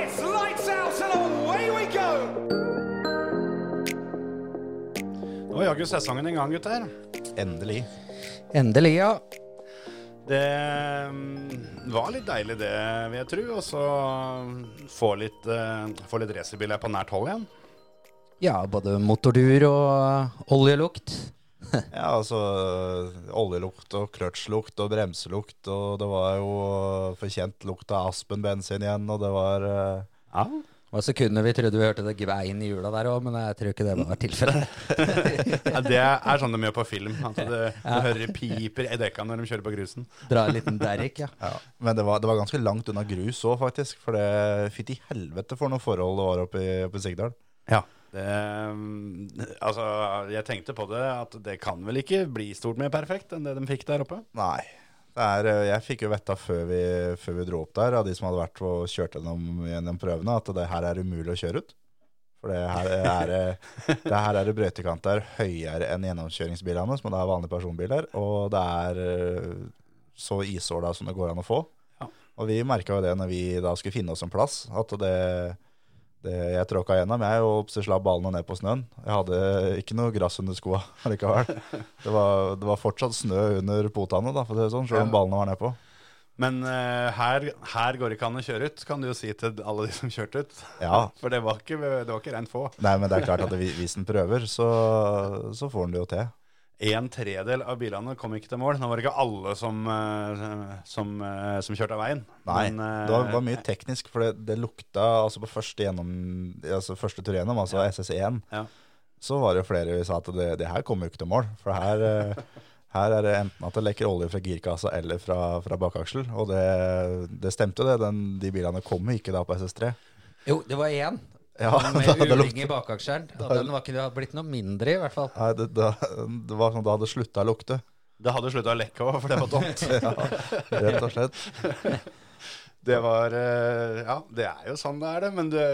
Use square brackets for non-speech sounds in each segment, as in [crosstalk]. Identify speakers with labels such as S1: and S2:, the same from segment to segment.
S1: It's lights out and away we go!
S2: Nå er jaggu sesongen i gang, gutter.
S3: Endelig.
S4: Endelig, ja.
S2: Det mm, var litt deilig, det, vil jeg tro. Og så mm, få litt, eh, få litt racerbil her på nært hold igjen.
S4: Ja, både motordur og eh, oljelukt.
S3: Ja, altså oljelukt og kløtsjlukt og bremselukt, og det var jo forkjent lukt av Aspen bensin igjen, og det var eh,
S2: Ja. [laughs]
S4: Og sekundene vi trodde vi hørte det gvein i hjula der òg, men jeg tror ikke det var tilfellet.
S2: Det er sånn de gjør på film. At du, du hører piper i dekka når de kjører på grusen.
S4: Dra en liten derrick, ja.
S3: ja. Men det var, det var ganske langt unna grus òg, faktisk. For det fytti helvete for noen forhold det var oppe i, oppe i Sigdal.
S2: Ja. Det, mm, altså, jeg tenkte på det, at det kan vel ikke bli stort mer perfekt enn det de fikk der oppe?
S3: Nei. Det er, eh, jeg fikk jo vite før, vi- før vi dro opp der, av de som hadde vært og kjørt gjennom, gjennom prøvene, at det her er umulig å kjøre ut. For det her er, eh, det her er brøytekanter høyere enn gjennomkjøringsbilene, som det er vanlige personbiler. Og det er eh, så isåla som det går an å få.
S2: Ja.
S3: Og vi merka jo det når vi da skulle finne oss en plass, at det, det jeg tråkka gjennom. Jeg og så slapp ballene ned på snøen. Jeg hadde ikke noe gress under skoa [laughs] likevel. Det var, det var fortsatt snø under potene, da, for å si det sånn, selv om ballene var nedpå.
S2: Men eh, her, her går det ikke an å kjøre ut, kan du jo si til alle de som kjørte ut.
S3: Ja.
S2: [laughs] For det var ikke, det var ikke rent få.
S3: Nei, men det er klart at vi- hvis en prøver, så, så får en det jo til.
S2: En tredel av bilene kom ikke til mål. Nå var det ikke alle som, eh, som, eh, som kjørte av veien.
S3: Nei,
S2: Men, eh,
S3: det var, var mye teknisk, for det, det lukta altså på første, gjennom, altså første tur gjennom, altså SS1,
S2: Ja.
S3: så var det jo flere vi sa at det, det her kommer jo ikke til mål. For her, eh, her er det enten at det lekker olje fra girkassa eller fra, fra bakaksel. Og det, det stemte jo det. Den, de bilene kom jo ikke da på SS3.
S4: Jo, det var én.
S3: Ja,
S2: [laughs]
S3: da-
S4: Med
S3: da
S4: uling
S3: lukter-
S4: i bakaksjeren. Og den var ikke blitt noe mindre, i hvert fall.
S3: Nei, det, da, det var sånn da det slutta å lukte,
S2: [laughs] Det hadde slutta å lekke òg, for det var tomt.
S3: rett og slett.
S2: det var eh, Ja, det er jo sånn det er, det. Men det,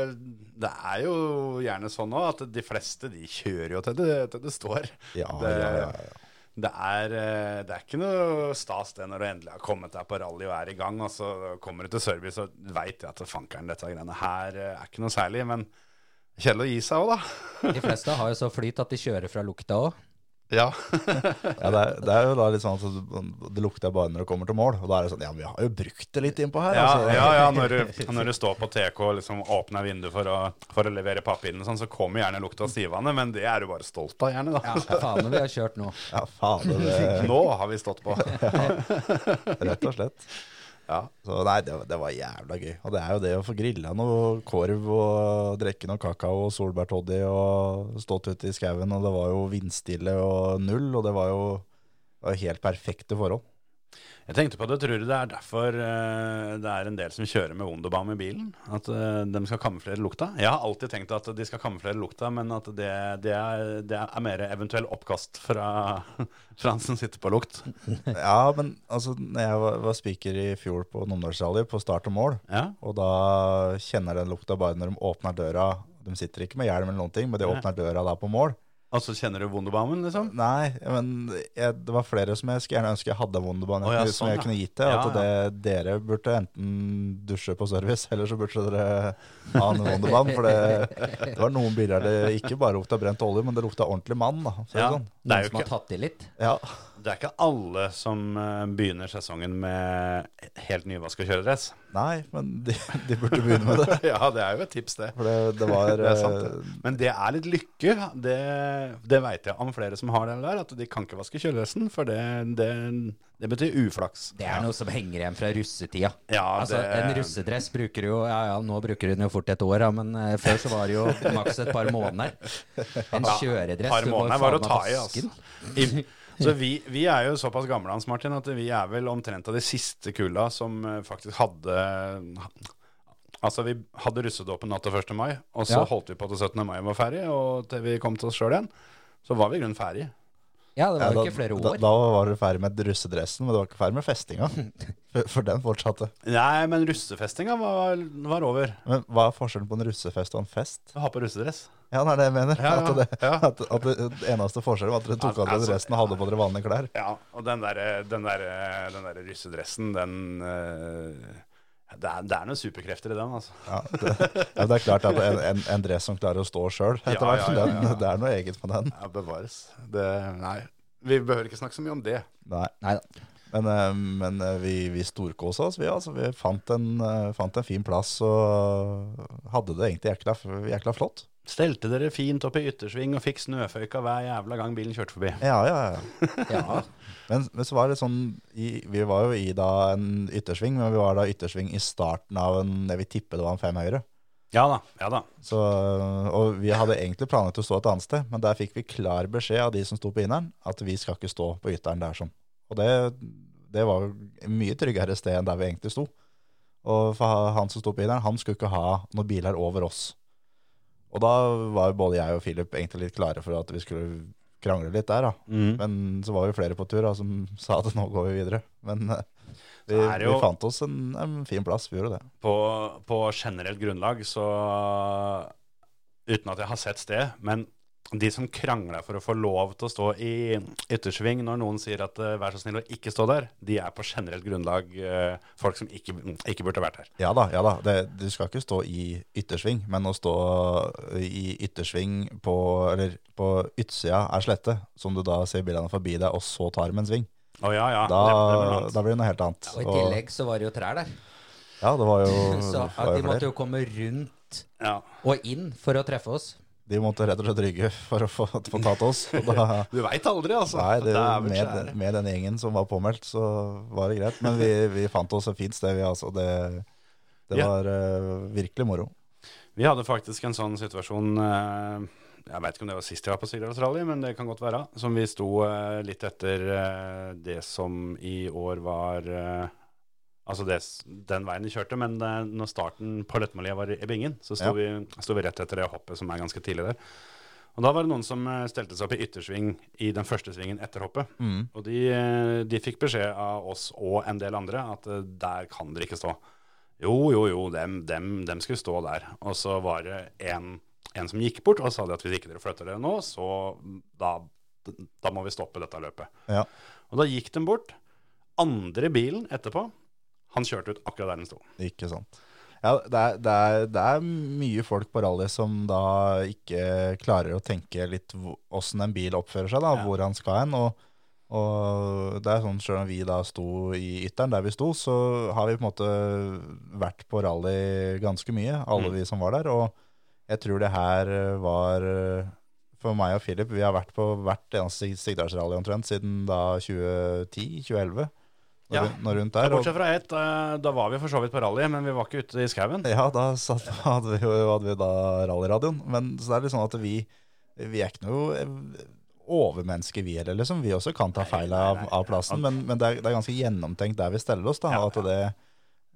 S2: det er jo gjerne sånn òg at de fleste de kjører jo til det, til det står.
S3: Ja,
S2: det,
S3: ja, ja,
S2: Det er, eh, det er ikke noe stas det når du endelig har kommet deg på rally og er i gang, og så kommer du til service og veit at fankeren, dette greiene her eh, er ikke noe særlig. Men kjedelig å gi seg òg, da.
S4: De fleste har jo så flyt at de kjører fra lukta òg.
S2: ja.
S3: Ja, det, er, det er jo da litt sånn at det lukter bare når det kommer til mål. Og da er det sånn Ja, men vi har jo brukt det litt innpå her.
S2: Ja,
S3: [laughs] altså.
S2: ja, ja når, du, når du står på TK og liksom åpner vinduet for å, for å levere papirene, sånn, så kommer gjerne lukta av stivvannet, men det er du bare stolt av, gjerne.
S4: Ja,
S2: da.
S4: faen om vi har kjørt nå.
S3: ja fader, det
S2: [laughs] Nå har vi stått på.
S3: Rett og slett.
S2: Ja.
S3: Så nei, det, var- det var jævla gøy. Og det er jo det å få grilla noe korv og drikke noe kakao og solbærtoddy og stått ute i skauen, og det var jo vindstille og null, og det var jo det var helt perfekte
S2: [laughs]
S3: forhold.
S2: Jeg tenkte på det, tror du det er derfor eh, det er en del som kjører med Wunderbaum i bilen? At eh, de skal kamuflere lukta? Jeg har alltid tenkt at de skal kamuflere lukta, men at det, det, er, det er mer eventuell oppkast fra, [laughs] fra han som sitter på lukt.
S3: Ja, men altså, når jeg var, var speaker i fjor på Nomdalsrally, på start og mål,
S2: Ja,
S3: og da kjenner jeg den lukta bare når de åpner døra. De sitter ikke med hjelm eller noen ting, men de åpner døra da på mål.
S2: Og så kjenner du Wunderbaumen, liksom?
S3: Nei, men jeg, det var flere som jeg skulle gjerne ønske jeg hadde
S2: Å
S3: Wunderbanen
S2: ja,
S3: som
S2: sånn,
S3: jeg
S2: ja.
S3: kunne gitt til.
S2: Ja,
S3: At det, dere burde enten dusje på service, eller så burde dere ha en Wunderbanen. For det, det var noen biler det ikke bare lukta brent olje, men det lukta ordentlig mann. da. Så
S2: Ja,
S3: sånn.
S2: det er jo
S4: Som
S2: ikke
S4: har tatt i litt.
S3: ja.
S2: Det er ikke alle som eh, begynner sesongen med helt nyvaska kjøredress.
S3: Nei, men de, de burde begynne med det.
S2: [laughs] ja, det er jo et tips, det.
S3: For det, det var eh,
S2: Det er sant, det. eh, Men det er litt lykke. Det, det veit jeg om flere som har det der, at de kan ikke vaske kjøledressen, for det, det, det betyr uflaks.
S4: Det er noe som henger igjen fra russetida.
S2: Ja,
S4: altså,
S2: det-
S4: En russedress bruker du jo Ja ja, nå bruker du den jo fort et år, ja, men eh, før så var det jo maks et par måneder. En kjøredress
S2: Par
S4: du må
S2: måneder
S4: faen
S2: var å
S4: meg
S2: ta i,
S4: vaske
S2: altså.
S4: den.
S2: I, så vi, vi er jo såpass gamle, Hans Martin, at vi er vel omtrent av de siste kulla som eh, faktisk hadde Altså, vi hadde russedåpen natt til 1. mai, og så
S4: Ja.
S2: holdt vi på til 17. mai var ferdig, og til vi kom til oss sjøl igjen, så var vi i grunnen ferdig.
S4: Ja, det var jo
S3: da,
S4: ikke flere
S3: da,
S4: år.
S3: da var du ferdig med russedressen, men du var ikke ferdig
S2: [laughs]
S3: med festinga. For, for den fortsatte.
S2: Nei, men russefestinga var, var over.
S3: Men hva er forskjellen på en russefest og en fest?
S2: Vi har på russedress.
S3: Ja, det er det jeg mener.
S2: Ja, ja,
S3: At, det,
S2: ja.
S3: at, at det, det eneste forskjellen var at dere tok av dere
S2: Altså-
S3: dressen og hadde på dere vanlige klær.
S2: Ja, og den derre den der, den der russedressen, den eh, det, er, det er noen superkrefter i den, altså.
S3: Ja, det, ja, det er klart at en, en, en dress som klarer å stå sjøl, etter
S2: Ja,
S3: hvert,
S2: ja, ja, ja.
S3: den- [laughs] det er noe eget med den.
S2: Ja, bevares. Det, nei. Vi behøver ikke snakke så mye om det.
S3: Nei.
S4: Neida.
S3: Men, eh, men eh, vi, vi storkosa oss, vi. Altså, vi fant en, eh, fant en fin plass og hadde det egentlig jækla, jækla flott.
S2: Stelte dere fint opp i yttersving og fikk snøføyka hver jævla gang bilen kjørte forbi.
S3: Ja, ja, ja.
S4: Ja,
S3: Men, men så var det sånn i, Vi var jo i da en yttersving, men vi var da yttersving i starten av en Jeg vil tippe det var en fem høyre.
S2: Ja da. ja da.
S3: Så, og vi hadde egentlig planlagt å stå et annet sted, men der fikk vi klar beskjed av de som sto på inneren, at vi skal ikke stå på ytteren der sånn. Og det, det var jo et mye tryggere sted enn der vi egentlig sto. Og for han som sto på inneren, han skulle ikke ha noen biler over oss. Og da var jo både jeg og Philip egentlig litt klare for at vi skulle krangle litt der, da.
S2: Mm.
S3: Men så var vi flere på tur da, som sa at nå går vi videre. Men eh, vi,
S2: Så er det jo-
S3: vi fant oss en, en fin plass, vi gjorde det.
S2: På, på generelt grunnlag så Uten at jeg har sett sted, men de som krangler for å få lov til å stå i yttersving når noen sier at eh, vær så snill å ikke stå der, de er på generelt grunnlag eh, folk som ikke, ikke burde vært der.
S3: Ja da, ja da. Det, du skal ikke stå i yttersving, men å stå i yttersving på, eller på utsida er slette, som du da ser bilene forbi deg, og så tar de en sving.
S2: Å ja, ja.
S3: Da,
S2: det- det blir noe annet.
S3: da blir det noe helt annet.
S4: og i tillegg så var det jo trær der.
S3: ja, det var jo,
S4: [laughs] Så
S3: det var
S4: at de
S3: jo
S4: måtte
S3: flere.
S4: jo komme rundt
S2: ja.
S4: og inn for å treffe oss.
S3: De måtte rett og slett rygge for å få, få tatt oss. Og
S2: [laughs]
S3: da,
S2: Du veit aldri, altså.
S3: nei, det,
S2: er vel
S3: med,
S2: skjære.
S3: med den gjengen som var påmeldt, så var det greit. Men vi, vi fant oss et fint sted, vi altså. Det, det
S2: Ja.
S3: var eh, virkelig moro.
S2: Vi hadde faktisk en sånn situasjon eh, Jeg veit ikke om det var sist jeg var på Sydal Australia, men det kan godt være. Som vi sto eh, litt etter eh, det som i år var eh, Altså det, s- den veien vi kjørte, men eh, når starten på Løttemolia var i bingen, så sto,
S3: Ja.
S2: vi, sto vi rett etter det hoppet som er ganske tidlig der. Og da var det noen som eh, stelte seg opp i yttersving i den første svingen etter hoppet.
S3: Mm.
S2: Og de, eh, de fikk beskjed av oss og en del andre at eh, der kan dere ikke stå. Jo, jo, jo, dem, dem, dem skulle stå der. Og så var det en, en som gikk bort og sa det at hvis ikke dere flytter dere nå, så da, da må vi stoppe dette løpet.
S3: Ja.
S2: Og da gikk de bort. Andre bilen etterpå, han kjørte ut akkurat der den sto.
S3: Ikke sant. Ja, det er, det, er, det er mye folk på rally som da ikke klarer å tenke litt hvo- åssen en bil oppfører seg, da,
S2: Ja.
S3: hvor han skal hen. Og, og det er sånn, selv om vi da sto i ytteren der vi sto, så har vi på en måte vært på rally ganske mye, alle
S2: Mm.
S3: vi som var der. Og jeg tror det her var For meg og Philip, vi har vært på hvert eneste Sigdalsrally omtrent siden da 2010-2011.
S2: Ja.
S3: Når rundt
S2: Ja,
S3: der. og-
S2: bortsett fra ett, eh, da var vi for så vidt på rally, men vi var ikke ute i skauen.
S3: Ja, da satt, hadde, vi, jo- hadde vi da rallyradioen. Men så det er litt sånn at vi, vi er ikke noe eh, overmennesker, vi heller. Liksom. Vi også kan ta feil av, av plassen, men, men det, er, det er ganske gjennomtenkt der vi steller oss. Da,
S2: Ja,
S3: at det,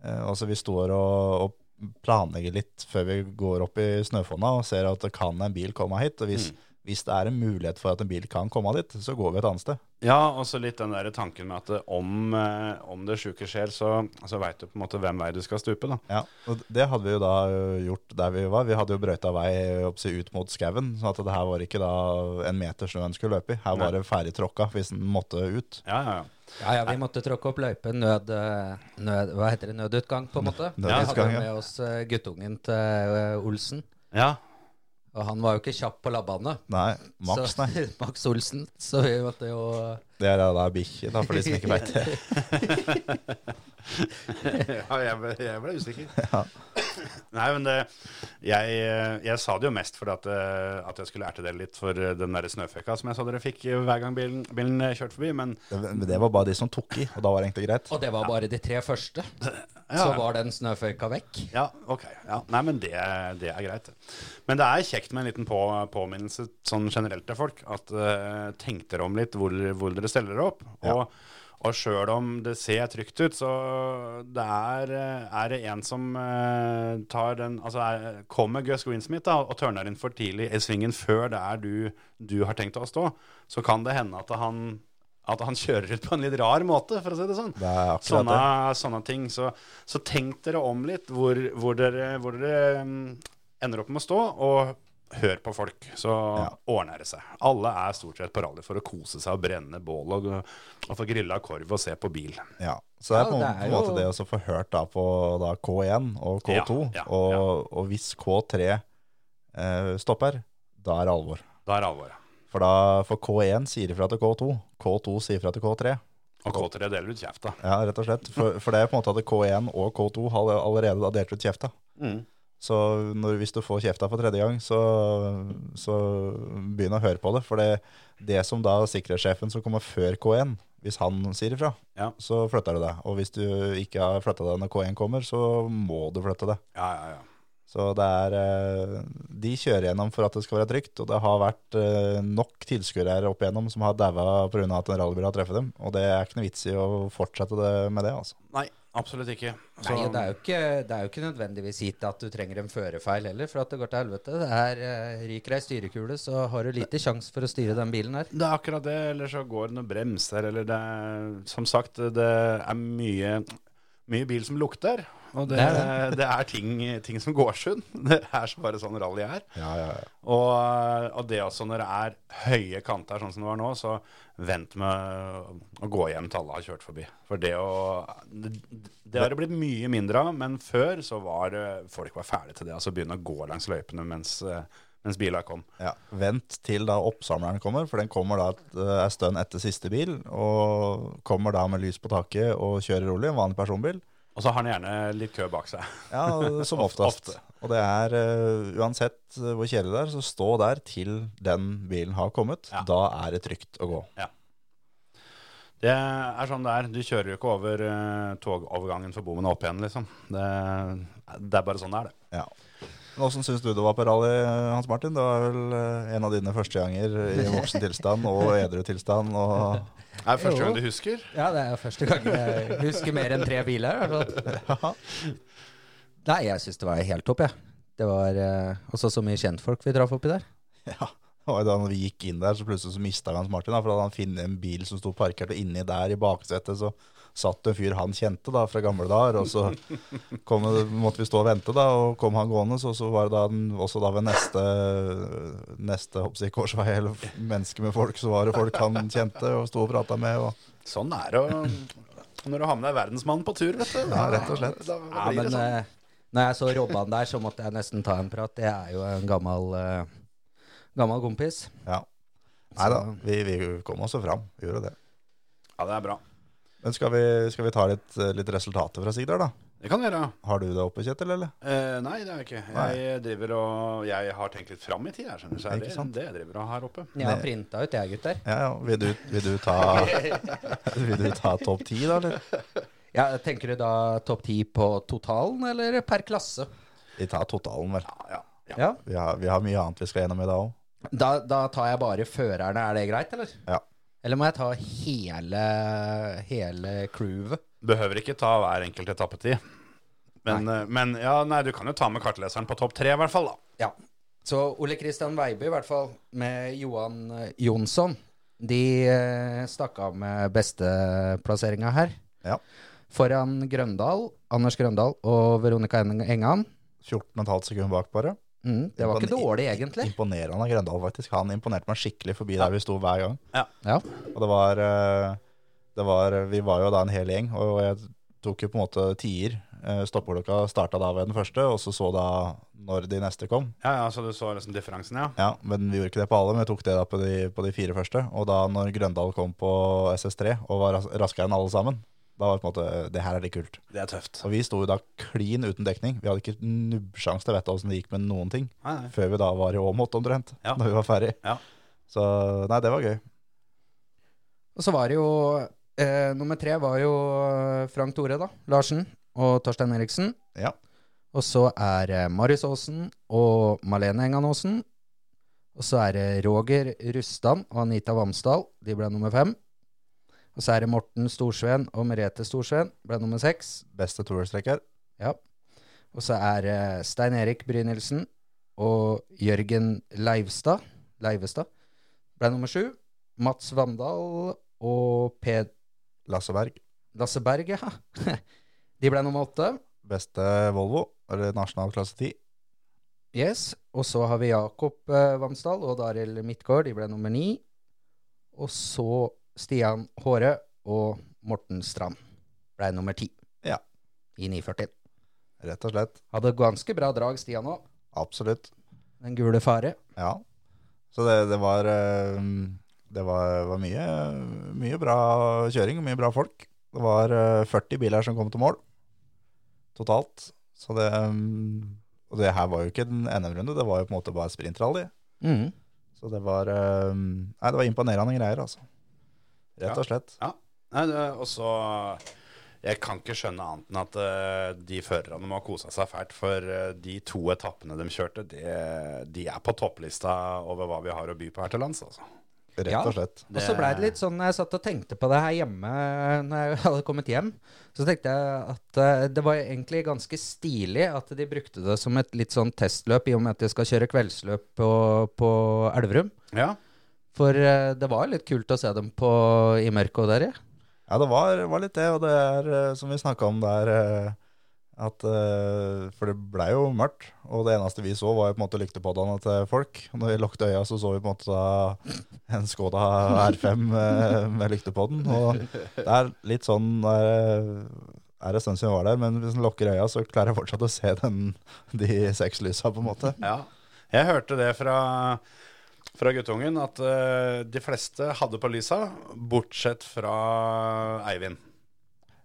S3: eh, altså, vi står og, og planlegger litt før vi går opp i snøfonna og ser at kan en bil komme hit. Og hvis,
S2: Mm.
S3: hvis det er en mulighet for at en bil kan komme dit, så går vi et annet sted.
S2: Ja, og så litt den der tanken med at eh, om, eh, om det sjuke skjer, så, så veit du på en måte hvem vei du skal stupe, da.
S3: Ja, og det hadde vi jo da øh, gjort der vi var. Vi hadde jo brøyta vei opp til ut mot skauen, så at det her var ikke da en meter snø en skulle løpe i. Her
S2: Nei.
S3: var det ferdig tråkka hvis en måtte ut.
S2: Ja, ja, ja.
S4: Ja, ja, vi måtte tråkke opp løype, nød, eh, nød, hva heter det, nødutgang på en måte.
S3: Nød-
S4: vi hadde
S3: nødutgang, ja.
S4: med oss eh, guttungen til eh, Olsen,
S2: ja.
S4: og han var jo ikke kjapp på labbene.
S3: Nei, Max,
S4: så,
S3: nei.
S4: [laughs] Max Olsen, så vi måtte jo...
S3: Det er da bikkje, da, for de som ikke veit det.
S2: [laughs] ja jeg, ble, jeg ble usikker. Nei, men det, jeg, eh, jeg sa det jo mest fordi at, eh, at jeg skulle erte dere litt for eh, den der snøføkka som jeg sa dere fikk eh, hver gang bilen, bilen eh, kjørte forbi, men
S3: Det, men det var bare de som tok i, og da var det egentlig greit.
S4: Og det var bare de tre første, så
S2: ja.
S4: var den snøføyka vekk.
S2: Ja, ok. Ja. Nei, men det, det er greit. Men det er kjekt med en liten på, påminnelse sånn generelt til folk. At eh, tenk dere om litt hvor, hvor dere steller dere opp. Og, Og sjøl om det ser trygt ut, så det er, eh, er det en som eh, tar den Altså er, kommer Gus Greensmith da, og tørner inn for tidlig i svingen før det er du, du har tenkt å stå, så kan det hende at han, at han kjører ut på en litt rar måte, for å si det sånn.
S3: Det er akkurat
S2: Sånne,
S3: det.
S2: sånne ting. Så, så tenk dere om litt hvor, hvor, dere, hvor dere mm, ender opp med å stå, og hør på folk. Så ordner det seg. Alle er stort sett på rally for å kose seg og brenne bål og, og få grilla korv og se på bil.
S3: Ja. Så det er på,
S4: Ja, det er
S3: på en måte
S4: jo-
S3: det å så få hørt da på da K1 og K2.
S2: Ja, ja,
S3: og,
S2: ja.
S3: og hvis K3 eh, stopper, da er det alvor.
S2: Da er det alvor.
S3: For, da, for K1 sier ifra til K2, K2 sier ifra til K3.
S2: Og K3 deler ut kjefta.
S3: Ja, rett og slett. For, for det er på en måte at K1 og K2 har allerede da delt ut kjefta. Så når, hvis du får kjefta for tredje gang, så, så begynn å høre på det. For det, det som da sikkerhetssjefen som kommer før K1, hvis han sier ifra,
S2: Ja.
S3: så flytter du deg. Og hvis du ikke har flytta deg når K1 kommer, så må du flytte deg.
S2: Ja, ja, ja.
S3: Så det er eh, De kjører gjennom for at det skal være trygt, og det har vært eh, nok tilskuere her opp igjennom som har daua pga. at en rallybil har truffet dem. Og det er ikke noe vits i å fortsette det med det, altså.
S2: Nei, absolutt ikke. Så,
S4: Nei, og det er, jo ikke, det er jo ikke nødvendigvis hit at du trenger en førerfeil heller, for at det går til helvete. Det er eh, Ryker ei styrekule, så har du lite sjanse for å styre den bilen her.
S2: Det er akkurat det, eller så går det noen bremser, eller det er Som sagt, det er mye, mye bil som lukter. Og det, det er, ting, ting som går sund. [laughs] Det er så bare sånn rally er.
S3: Ja, ja, ja.
S2: Og, og det også når det er høye kanter, sånn som det var nå, så vent med å gå hjem til alle har kjørt forbi. For det å Det, det har det blitt mye mindre av, men før så var det- folk var ferdige til det. Altså begynne å gå langs løypene mens, mens bila kom.
S3: Ja, Vent til da oppsamleren kommer, for den kommer da et eh, et stønn etter siste bil. Og kommer da med lys på taket og kjører rolig, en vanlig personbil.
S2: Og så har han gjerne litt kø bak seg.
S3: [laughs] Ja, Som oftest.
S2: Ofte.
S3: Og det er eh, uansett eh, hvor kjedelig det er, så stå der til den bilen har kommet.
S2: Ja.
S3: Da er det trygt å gå.
S2: Det er sånn det er. Du kjører jo ikke over eh, togovergangen for bommen og opp igjen, liksom. Det, det er bare sånn det er, det.
S3: Ja. Men Åssen syns du det var på rally, Hans Martin? Det var vel eh, en av dine første ganger [laughs] i voksen tilstand og edru tilstand. [laughs] Og
S2: Det er første
S4: Jo.
S2: gang du husker.
S4: Ja, det er jo første gang jeg husker mer enn tre biler. i hvert fall.
S3: ja,
S4: Nei, jeg syns det var helt topp, jeg. Det var eh, også så mye kjentfolk vi traff oppi der.
S3: [laughs] Og da vi gikk inn der, så plutselig så mista vi Hans Martin. Da, for da hadde han funnet en bil som sto parkert, og inni der i baksetet så satt en fyr han kjente da, fra gamle dager. Og så kom, måtte vi stå og vente, da, og kom han gående. Så, så var det da den, også da ved neste, neste håper jeg, korsvei, eller f- menneske med folk, så var det folk han kjente og sto og prata med. Og,
S2: Sånn er det å når du har med deg verdensmannen på tur, vet du.
S3: ja, rett og slett.
S2: Da, da
S4: Ja,
S2: blir
S4: men
S2: det sånn.
S4: eh, når jeg så Robban der, så måtte jeg nesten ta en prat. Det er jo en gammel, eh, gammel kompis.
S3: Ja. Nei da, vi, vi kom også fram. Vi gjorde det.
S2: Ja, det er bra.
S3: Men skal vi, skal vi ta litt, litt resultater fra Sigdal, da?
S2: Det kan du gjøre.
S3: Har du det oppe, Kjetil, eller?
S2: Eh, nei, det er jeg ikke.
S3: Nei.
S2: Jeg driver og Jeg har tenkt litt fram i tid, jeg skjønner du. Så er
S3: Ikke
S2: det
S3: sant?
S2: det jeg driver og har oppe.
S4: Jeg har printa ut, jeg, gutter.
S3: Ja, ja. Vil du, vil du ta [laughs] Vil du ta topp ti, da, eller?
S4: Ja, tenker du da topp ti på totalen, eller per klasse?
S3: Vi tar totalen, vel.
S2: Ja, ja. ja.
S4: Ja.
S3: Vi har, vi har mye annet vi skal gjennom i dag òg.
S4: Da, da tar jeg bare førerne, er det greit, eller?
S3: Ja.
S4: Eller må jeg ta hele, hele crewet?
S2: Behøver ikke ta hver enkelt etappetid. Men, eh, men ja, nei, du kan jo ta med kartleseren på topp tre, i hvert fall, da.
S4: Ja. Så Ole Kristian Weiby, i hvert fall, med Johan eh, Jonsson, de eh, stakk av med besteplasseringa her.
S3: Ja.
S4: Foran Grøndal, Anders Grøndal og Veronica Eng- Engan.
S3: 14,5 sekunder bak, bare.
S4: Mm, det var ikke
S3: Impone-
S4: dårlig, egentlig.
S3: Imponerende av Grøndal, faktisk. Han imponerte meg skikkelig forbi der vi sto hver gang.
S4: Ja.
S3: Og det var, eh, det var Vi var jo da en hel gjeng, og jeg tok jo på en måte tier. Eh, Stoppeklokka starta da ved den første, og så så da når de neste kom.
S2: Ja, ja, så du så liksom differansen, ja.
S3: Ja, men vi gjorde ikke det på alle, men vi tok det da på de, på de fire første. Og da når Grøndal kom på SS3 og var ras- raskere enn alle sammen, da var det på en måte eh, Det her er litt kult.
S2: Det er tøft.
S3: Og vi sto jo da klin uten dekning. Vi hadde ikke nubbsjanse til å vite åssen det gikk med noen ting.
S2: Nei, nei.
S3: Før vi da var i Åmot, omtrent,
S2: Ja.
S3: [laughs] når vi var ferdig.
S2: Ja.
S3: Så nei, det var gøy.
S4: Og så var det jo eh, Nummer tre var jo eh, Frank Tore, da. Larsen og Torstein Eriksen.
S3: Ja.
S4: Og så er det Marius Aasen og Malene Engan Aasen. Og så er det Roger Rustan og Anita Vamsdal. De ble nummer fem. Og så er det Morten Storsveen og Merete Storsveen, ble nummer seks.
S3: Beste toerstreker.
S4: Ja. Og så er det Stein Erik Brynildsen og Jørgen Leivstad, Leivestad ble nummer sju. Mats Vandal og Per
S3: Lasse Berg.
S4: Lasse Berg, ja. [laughs] De ble nummer åtte.
S3: Beste Volvo, eller nasjonal klasse 10.
S4: Yes. Og så har vi Jakob eh, Vamsdal og Daril Midtgaard. De ble nummer ni. Og så Stian Håre og Morten Strand ble nummer ti
S3: Ja.
S4: i 940.
S3: Rett og slett.
S4: Hadde ganske bra drag, Stian òg.
S3: Absolutt.
S4: Den gule fare.
S3: Ja. Så det, det var eh, Det var, var mye, mye bra kjøring og mye bra folk. Det var eh, 40 biler som kom til mål totalt. Så det eh, Og det her var jo ikke en NM-runde, det var jo på en måte bare sprintrally.
S4: Mm.
S3: Så det var eh, Nei, det var imponerende greier, altså. Rett og slett.
S2: Ja. Nei, det, og så Jeg kan ikke skjønne annet enn at eh, de førerne må ha kosa seg fælt. For eh, de to etappene de kjørte, de, de er på topplista over hva vi har å by på her til lands. Altså.
S3: Rett
S4: Ja.
S3: og slett.
S4: Og så blei det litt sånn, jeg satt og tenkte på det her hjemme når jeg hadde kommet hjem, så tenkte jeg at eh, det var egentlig ganske stilig at de brukte det som et litt sånn testløp, i og med at de skal kjøre kveldsløp på, på Elverum.
S2: Ja.
S4: For eh, det var litt kult å se dem på, i mørket og der, ja.
S3: Ja, det var, var litt det, og det er eh, som vi snakka om der eh, at, eh, For det blei jo mørkt, og det eneste vi så, var jo på en måte lyktepaddene til folk. Og Når vi lukket øya, så så vi på en måte da en Skoda R5 eh, med lyktepodden. Og det er litt sånn eh, er det en stund siden vi var der, men hvis en lukker øya, så klarer jeg fortsatt å se den, de seks lysa, på en måte.
S2: ja. Jeg hørte det fra, fra guttungen, at eh, de fleste hadde på lysa, bortsett fra Eivind.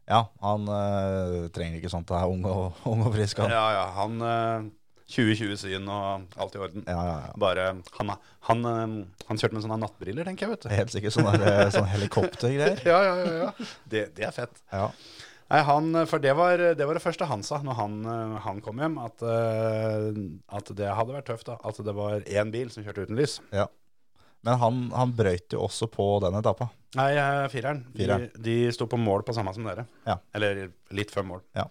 S3: Ja, han eh, trenger ikke sånt. Det er ung og, ung og frisk, han.
S2: Ja, ja. Han eh, 2020-syn og alt i orden.
S3: Ja, ja, ja.
S2: Bare Han, han, eh, han kjørte med sånne nattbriller, tenker jeg, vet du.
S3: Helt sikkert sånn der, eh, sånn helikoptergreier.
S2: ja, ja, ja, ja. [laughs] Det, det er fett.
S3: Ja.
S2: Nei, han, eh, for det var, det var det første han sa når han, eh, han kom hjem, at, eh, at det hadde vært tøft. da, At det var én bil som kjørte uten lys.
S3: Ja. Men han, han brøyt jo også på den etappa.
S2: Nei, eh, fireren. De,
S3: Fireren.
S2: de sto på mål på samme som dere.
S3: Ja.
S2: Eller litt før mål.
S3: Ja.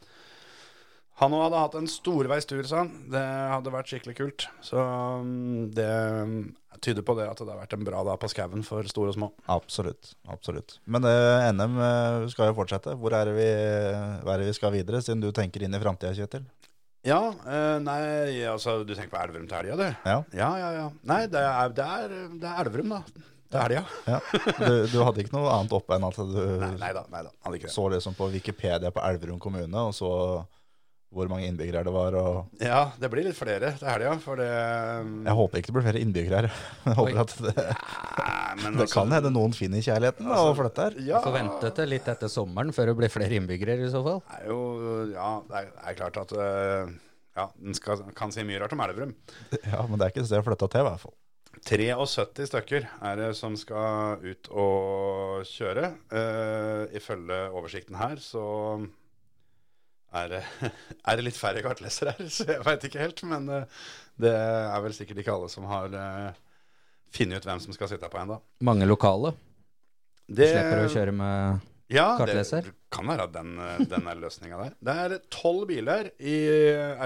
S2: Han òg hadde hatt en storveistur, sa han. Det hadde vært skikkelig kult. Så mm, det mm, tyder på det at det har vært en bra dag på skauen for store og små.
S3: Absolutt. absolutt. Men eh, NM eh, skal jo fortsette. Hvor er det vi, hva er det vi skal videre, siden du tenker inn i framtida, Kjetil?
S2: Ja, eh, nei, altså du tenker på Elverum til helga, du?
S3: Ja.
S2: ja, ja. ja. Nei, det er, det er, det er Elverum, da. Til helga.
S3: Ja. Du, du hadde ikke noe annet oppe enn at du
S2: Nei, nei da, nei da. Hadde ikke det.
S3: så liksom på Wikipedia på Elverum kommune, og så hvor mange innbyggere det var. og...
S2: Ja, det blir litt flere til helga, for det mm, Nei,
S3: Jeg håper ikke det blir flere innbyggere her. [laughs] Jeg håper
S4: Oi.
S3: at det,
S2: men altså,
S3: det kan hende noen finner kjærligheten da, og flytter.
S2: Ja,
S4: Får vente til litt etter sommeren før det blir flere innbyggere i så fall.
S2: det er jo Ja, det er, det er klart at eh, Ja, en skal, kan si mye rart om Elverum.
S3: Ja, men det er ikke et sted å flytte til, i hvert fall.
S2: 73 stykker er det som skal ut og kjøre. Eh, ifølge oversikten her så er det, [laughs] er det litt færre kartlesere her, [laughs] så jeg veit ikke helt. Men eh, det er vel sikkert ikke alle som har eh, funnet ut hvem som skal sitte på ennå.
S4: Mange lokale
S2: Det
S4: slipper å kjøre med
S2: ja,
S4: kartleser.
S2: Det kan være at den, eh, den er løsninga der. Det er tolv biler i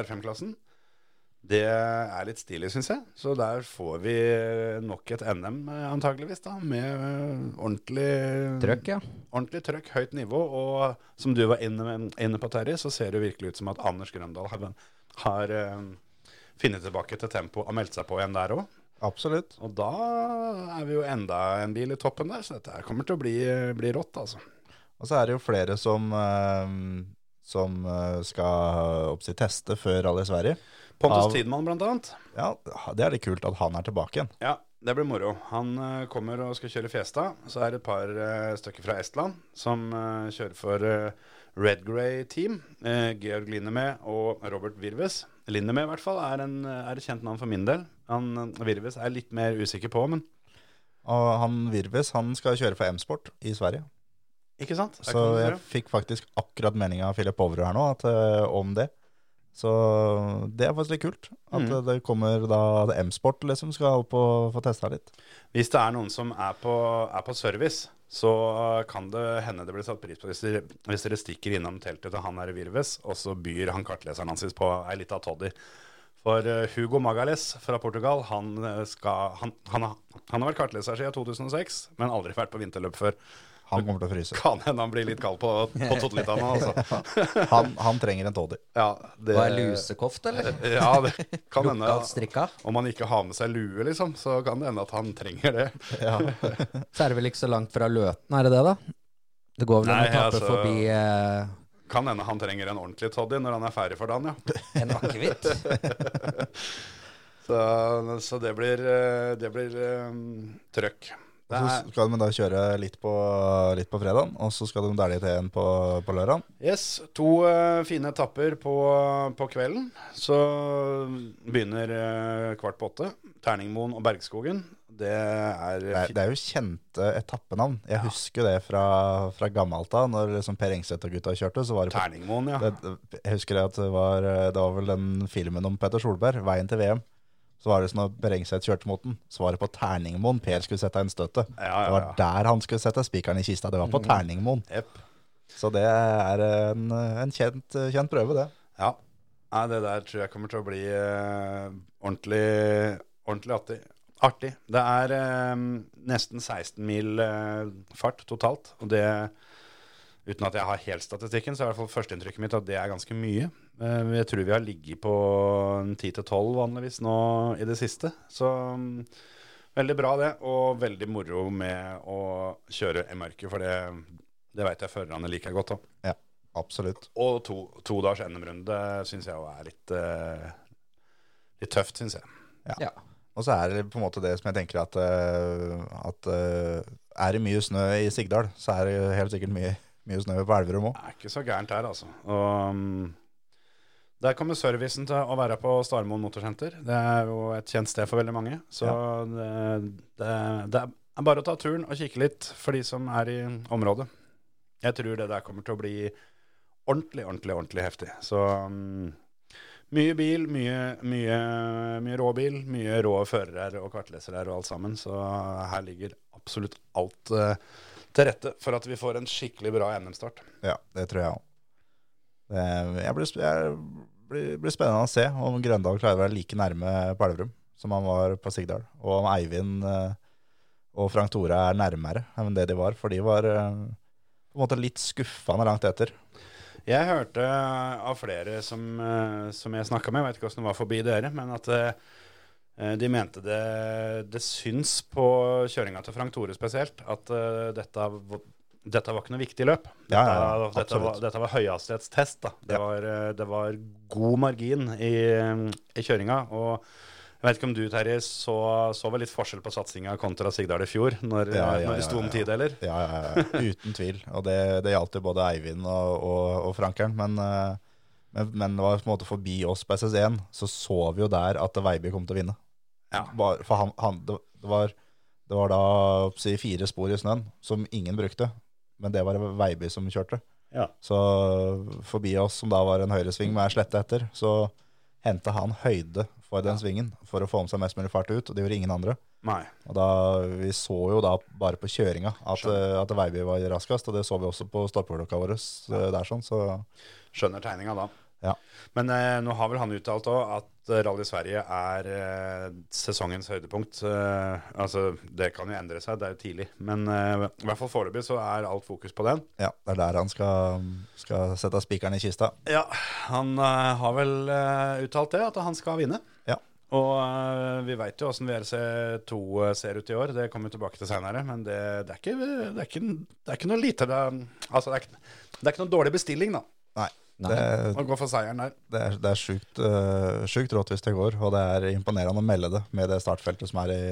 S2: R5-klassen. Det er litt stilig, syns jeg. Så der får vi nok et NM, eh, antageligvis, da, med eh, ordentlig
S4: trøkk, ja.
S2: ordentlig trøkk, høyt nivå. Og som du var inne, inne på, Terje, så ser det virkelig ut som at Anders Grøndal har, har eh, funnet tilbake til tempo og meldt seg på igjen der òg.
S3: Absolutt.
S2: Og da er vi jo enda en bil i toppen der, så dette her kommer til å bli, bli rått, altså.
S3: Og så er det jo flere som, eh, som eh, skal oppsi, teste før alle i Sverige.
S2: Pontus
S3: Av-
S2: Tidmann, blant annet.
S3: Ja, Det er litt kult at han er tilbake igjen.
S2: Ja, det blir moro. Han eh, kommer og skal kjøre Fiesta. Så er det et par eh, stykker fra Estland som eh, kjører for eh, Red Grey Team. Eh, Georg Linneme og Robert Virves. Linneme i hvert fall er, en, eh, er et kjent navn for min del. Han, Virves er jeg litt mer usikker på, men
S3: Og han Virves han skal kjøre for M-sport i Sverige.
S2: ikke sant? Der
S3: Så
S2: kan du
S3: jeg
S2: se.
S3: fikk faktisk akkurat meldinga av Filip Overud her nå at, eh, om det. Så det er faktisk litt kult. At det kommer da det er M-sport liksom skal opp og få testa litt.
S2: Hvis det er noen som er på, er på service, så eh, kan det hende det blir satt pris på hvis dere, hvis dere stikker innom teltet til han her i Virves, og så byr han kartleseren hans på ei lita toddy. For eh, Hugo Magales fra Portugal, han, eh, skal, han, han, har, han har vært kartleser siden 2006, men aldri vært på vinterløp før.
S3: Han kommer til å fryse.
S2: Kan hende han blir litt kald på, på toddelita nå, altså.
S3: Han, han trenger en toddy.
S2: Ja, det,
S4: Hva er lusekoft, eller?
S2: Ja, det kan hende.
S4: Lokalt strikka?
S2: Om han ikke har med seg lue, liksom, så kan det hende at han trenger det.
S4: Så er det vel ikke så langt fra Løten, er det det, da? Det går vel an
S2: Nei,
S4: å tape
S2: altså-
S4: forbi eh,
S2: Kan hende han trenger en ordentlig toddy når han er ferdig for dagen, ja.
S4: en akevitt.
S2: Så, så det blir, eh, det blir eh, trøkk.
S3: Og
S2: Det er,
S3: Så skal de da kjøre litt på, litt på fredagen, og så skal de dælje til en på, på lørdagen.
S2: yes, to eh, fine etapper på, på kvelden. Så begynner eh, kvart på åtte. Terningmoen og Bergskogen. Det er
S3: Det er, det er jo kjente etappenavn. Jeg husker det fra, fra gammelt av. Når liksom Per Engseth og gutta kjørte, så var det på
S2: Terningmoen, ja.
S3: det, Jeg husker det at det var, eh, det var vel den filmen om Petter Solberg, 'Veien til VM'. Så var det sånn at Per Engseth kjørte mot den. Så var det på Terningmoen Per skulle sette en støtte.
S2: Ja, ja,
S3: Det var
S2: ja. Mm.
S3: der han skulle sette spikeren i kista. Det var på Terningmoen.
S2: Jepp.
S3: Så det er en, eh, en kjent, kjent prøve, det.
S2: Ja. Nei, det der tror jeg kommer til å bli eh, ordentlig, ordentlig artig. artig. Det er eh, nesten 16 mil eh, fart totalt, og det Uten at jeg har helt statistikken, så er i hvert fall førsteinntrykket mitt at det er ganske mye. Eh, Jeg tror vi har ligget på 10-12 vanligvis nå i det siste. Så mm, veldig bra det, og veldig moro med å kjøre M-merket, for det, det veit jeg førerne liker godt. da.
S3: Ja, absolutt.
S2: Og to, to dagers NM-runde syns jeg jo er litt, eh, litt tøft, syns jeg.
S4: Ja.
S3: Og så er det på en måte det som jeg tenker at, eh, at eh, Er det mye snø i Sigdal, så er det jo helt sikkert mye, mye snø på Elverum òg.
S2: Det er ikke så gærent her, altså. Og, mm, der kommer servicen til å være på Starmoen motorsenter. Det er jo et kjent sted for veldig mange. Så det, det, det er bare å ta turen og kikke litt for de som er i området. Jeg tror det der kommer til å bli ordentlig, ordentlig, ordentlig heftig. Så mm, mye bil, mye, mye, mye råbil, mye rå førere og kartlesere og alt sammen. Så her ligger absolutt alt eh, til rette for at vi får en skikkelig bra NM-start.
S3: Ja, det tror jeg òg. Jeg blir, sp- jeg blir, blir spennende å se om Grøndal klarer å være like nærme på Elverum som han var på Sigdal. Og om Eivind eh, og Frank Tore er nærmere enn det de var. For de var eh, på en måte litt skuffende langt etter.
S2: Jeg hørte av flere som, eh, som jeg snakka med, jeg vet ikke åssen det var forbi dere, men at eh, de mente det, det syns på kjøringa til Frank Tore spesielt at eh, dette, v- dette var ikke noe viktig løp. Dette,
S3: Ja, ja, ja,
S2: dette,
S3: absolutt.
S2: var, dette var høyhastighetstest. Da. Det,
S3: Ja.
S2: var, eh, det var god margin i, eh, i kjøringa. Og jeg vet ikke om du, Terje, så, så vel litt forskjell på satsinga kontra Sigdal i fjor, når,
S3: Ja,
S2: når
S3: ja, ja,
S2: det sto om
S3: ja.
S2: tideler?
S3: Ja, ja, ja. Uten tvil. Og det, det gjaldt jo både Eivind og, og, og Frankeren. Men, eh, men, men det var på en måte forbi oss på SS1, så så vi jo der at Veiby kom til å vinne.
S2: Ja.
S3: Bare- for han, han, det, det, var, det var da si, fire spor i snøen som ingen brukte, men det var det Veiby som kjørte.
S2: Ja.
S3: Så forbi oss, som da var en høyresving med ei slette etter, så henta han høyde for den svingen for å få med seg mest mulig fart ut, og det gjorde ingen andre.
S2: Nei.
S3: Og da, Vi så jo da bare på kjøringa at, eh, at Veiby var raskest, og det så vi også på stoppeklokka vår. Så, der, sånn, så
S2: Skjønner tegninga da.
S3: Ja.
S2: Men eh, nå har vel han uttalt òg at eh, Rally Sverige er eh, sesongens høydepunkt. Eh, altså, det kan jo endre seg, det er jo tidlig. Men eh, i hvert fall foreløpig så er alt fokus på den.
S3: ja, det er der han skal, skal sette spikeren i kista.
S2: Ja, han eh, har vel eh, uttalt det, at han skal vinne.
S3: Ja.
S2: Og eh, vi veit jo åssen VRC2 eh, ser ut i år, det kommer vi tilbake til seinere. Men det, det, er ikke, det, er ikke, det er ikke noe lite det, er- Altså, det er, ikke, det er ikke noe dårlig bestilling, da,
S3: Nei,
S4: Nei.
S3: det,
S2: å gå for seieren der.
S3: det er, det er sjukt, eh, sjukt rått hvis det går, og det er imponerende å melde det med det startfeltet som er i,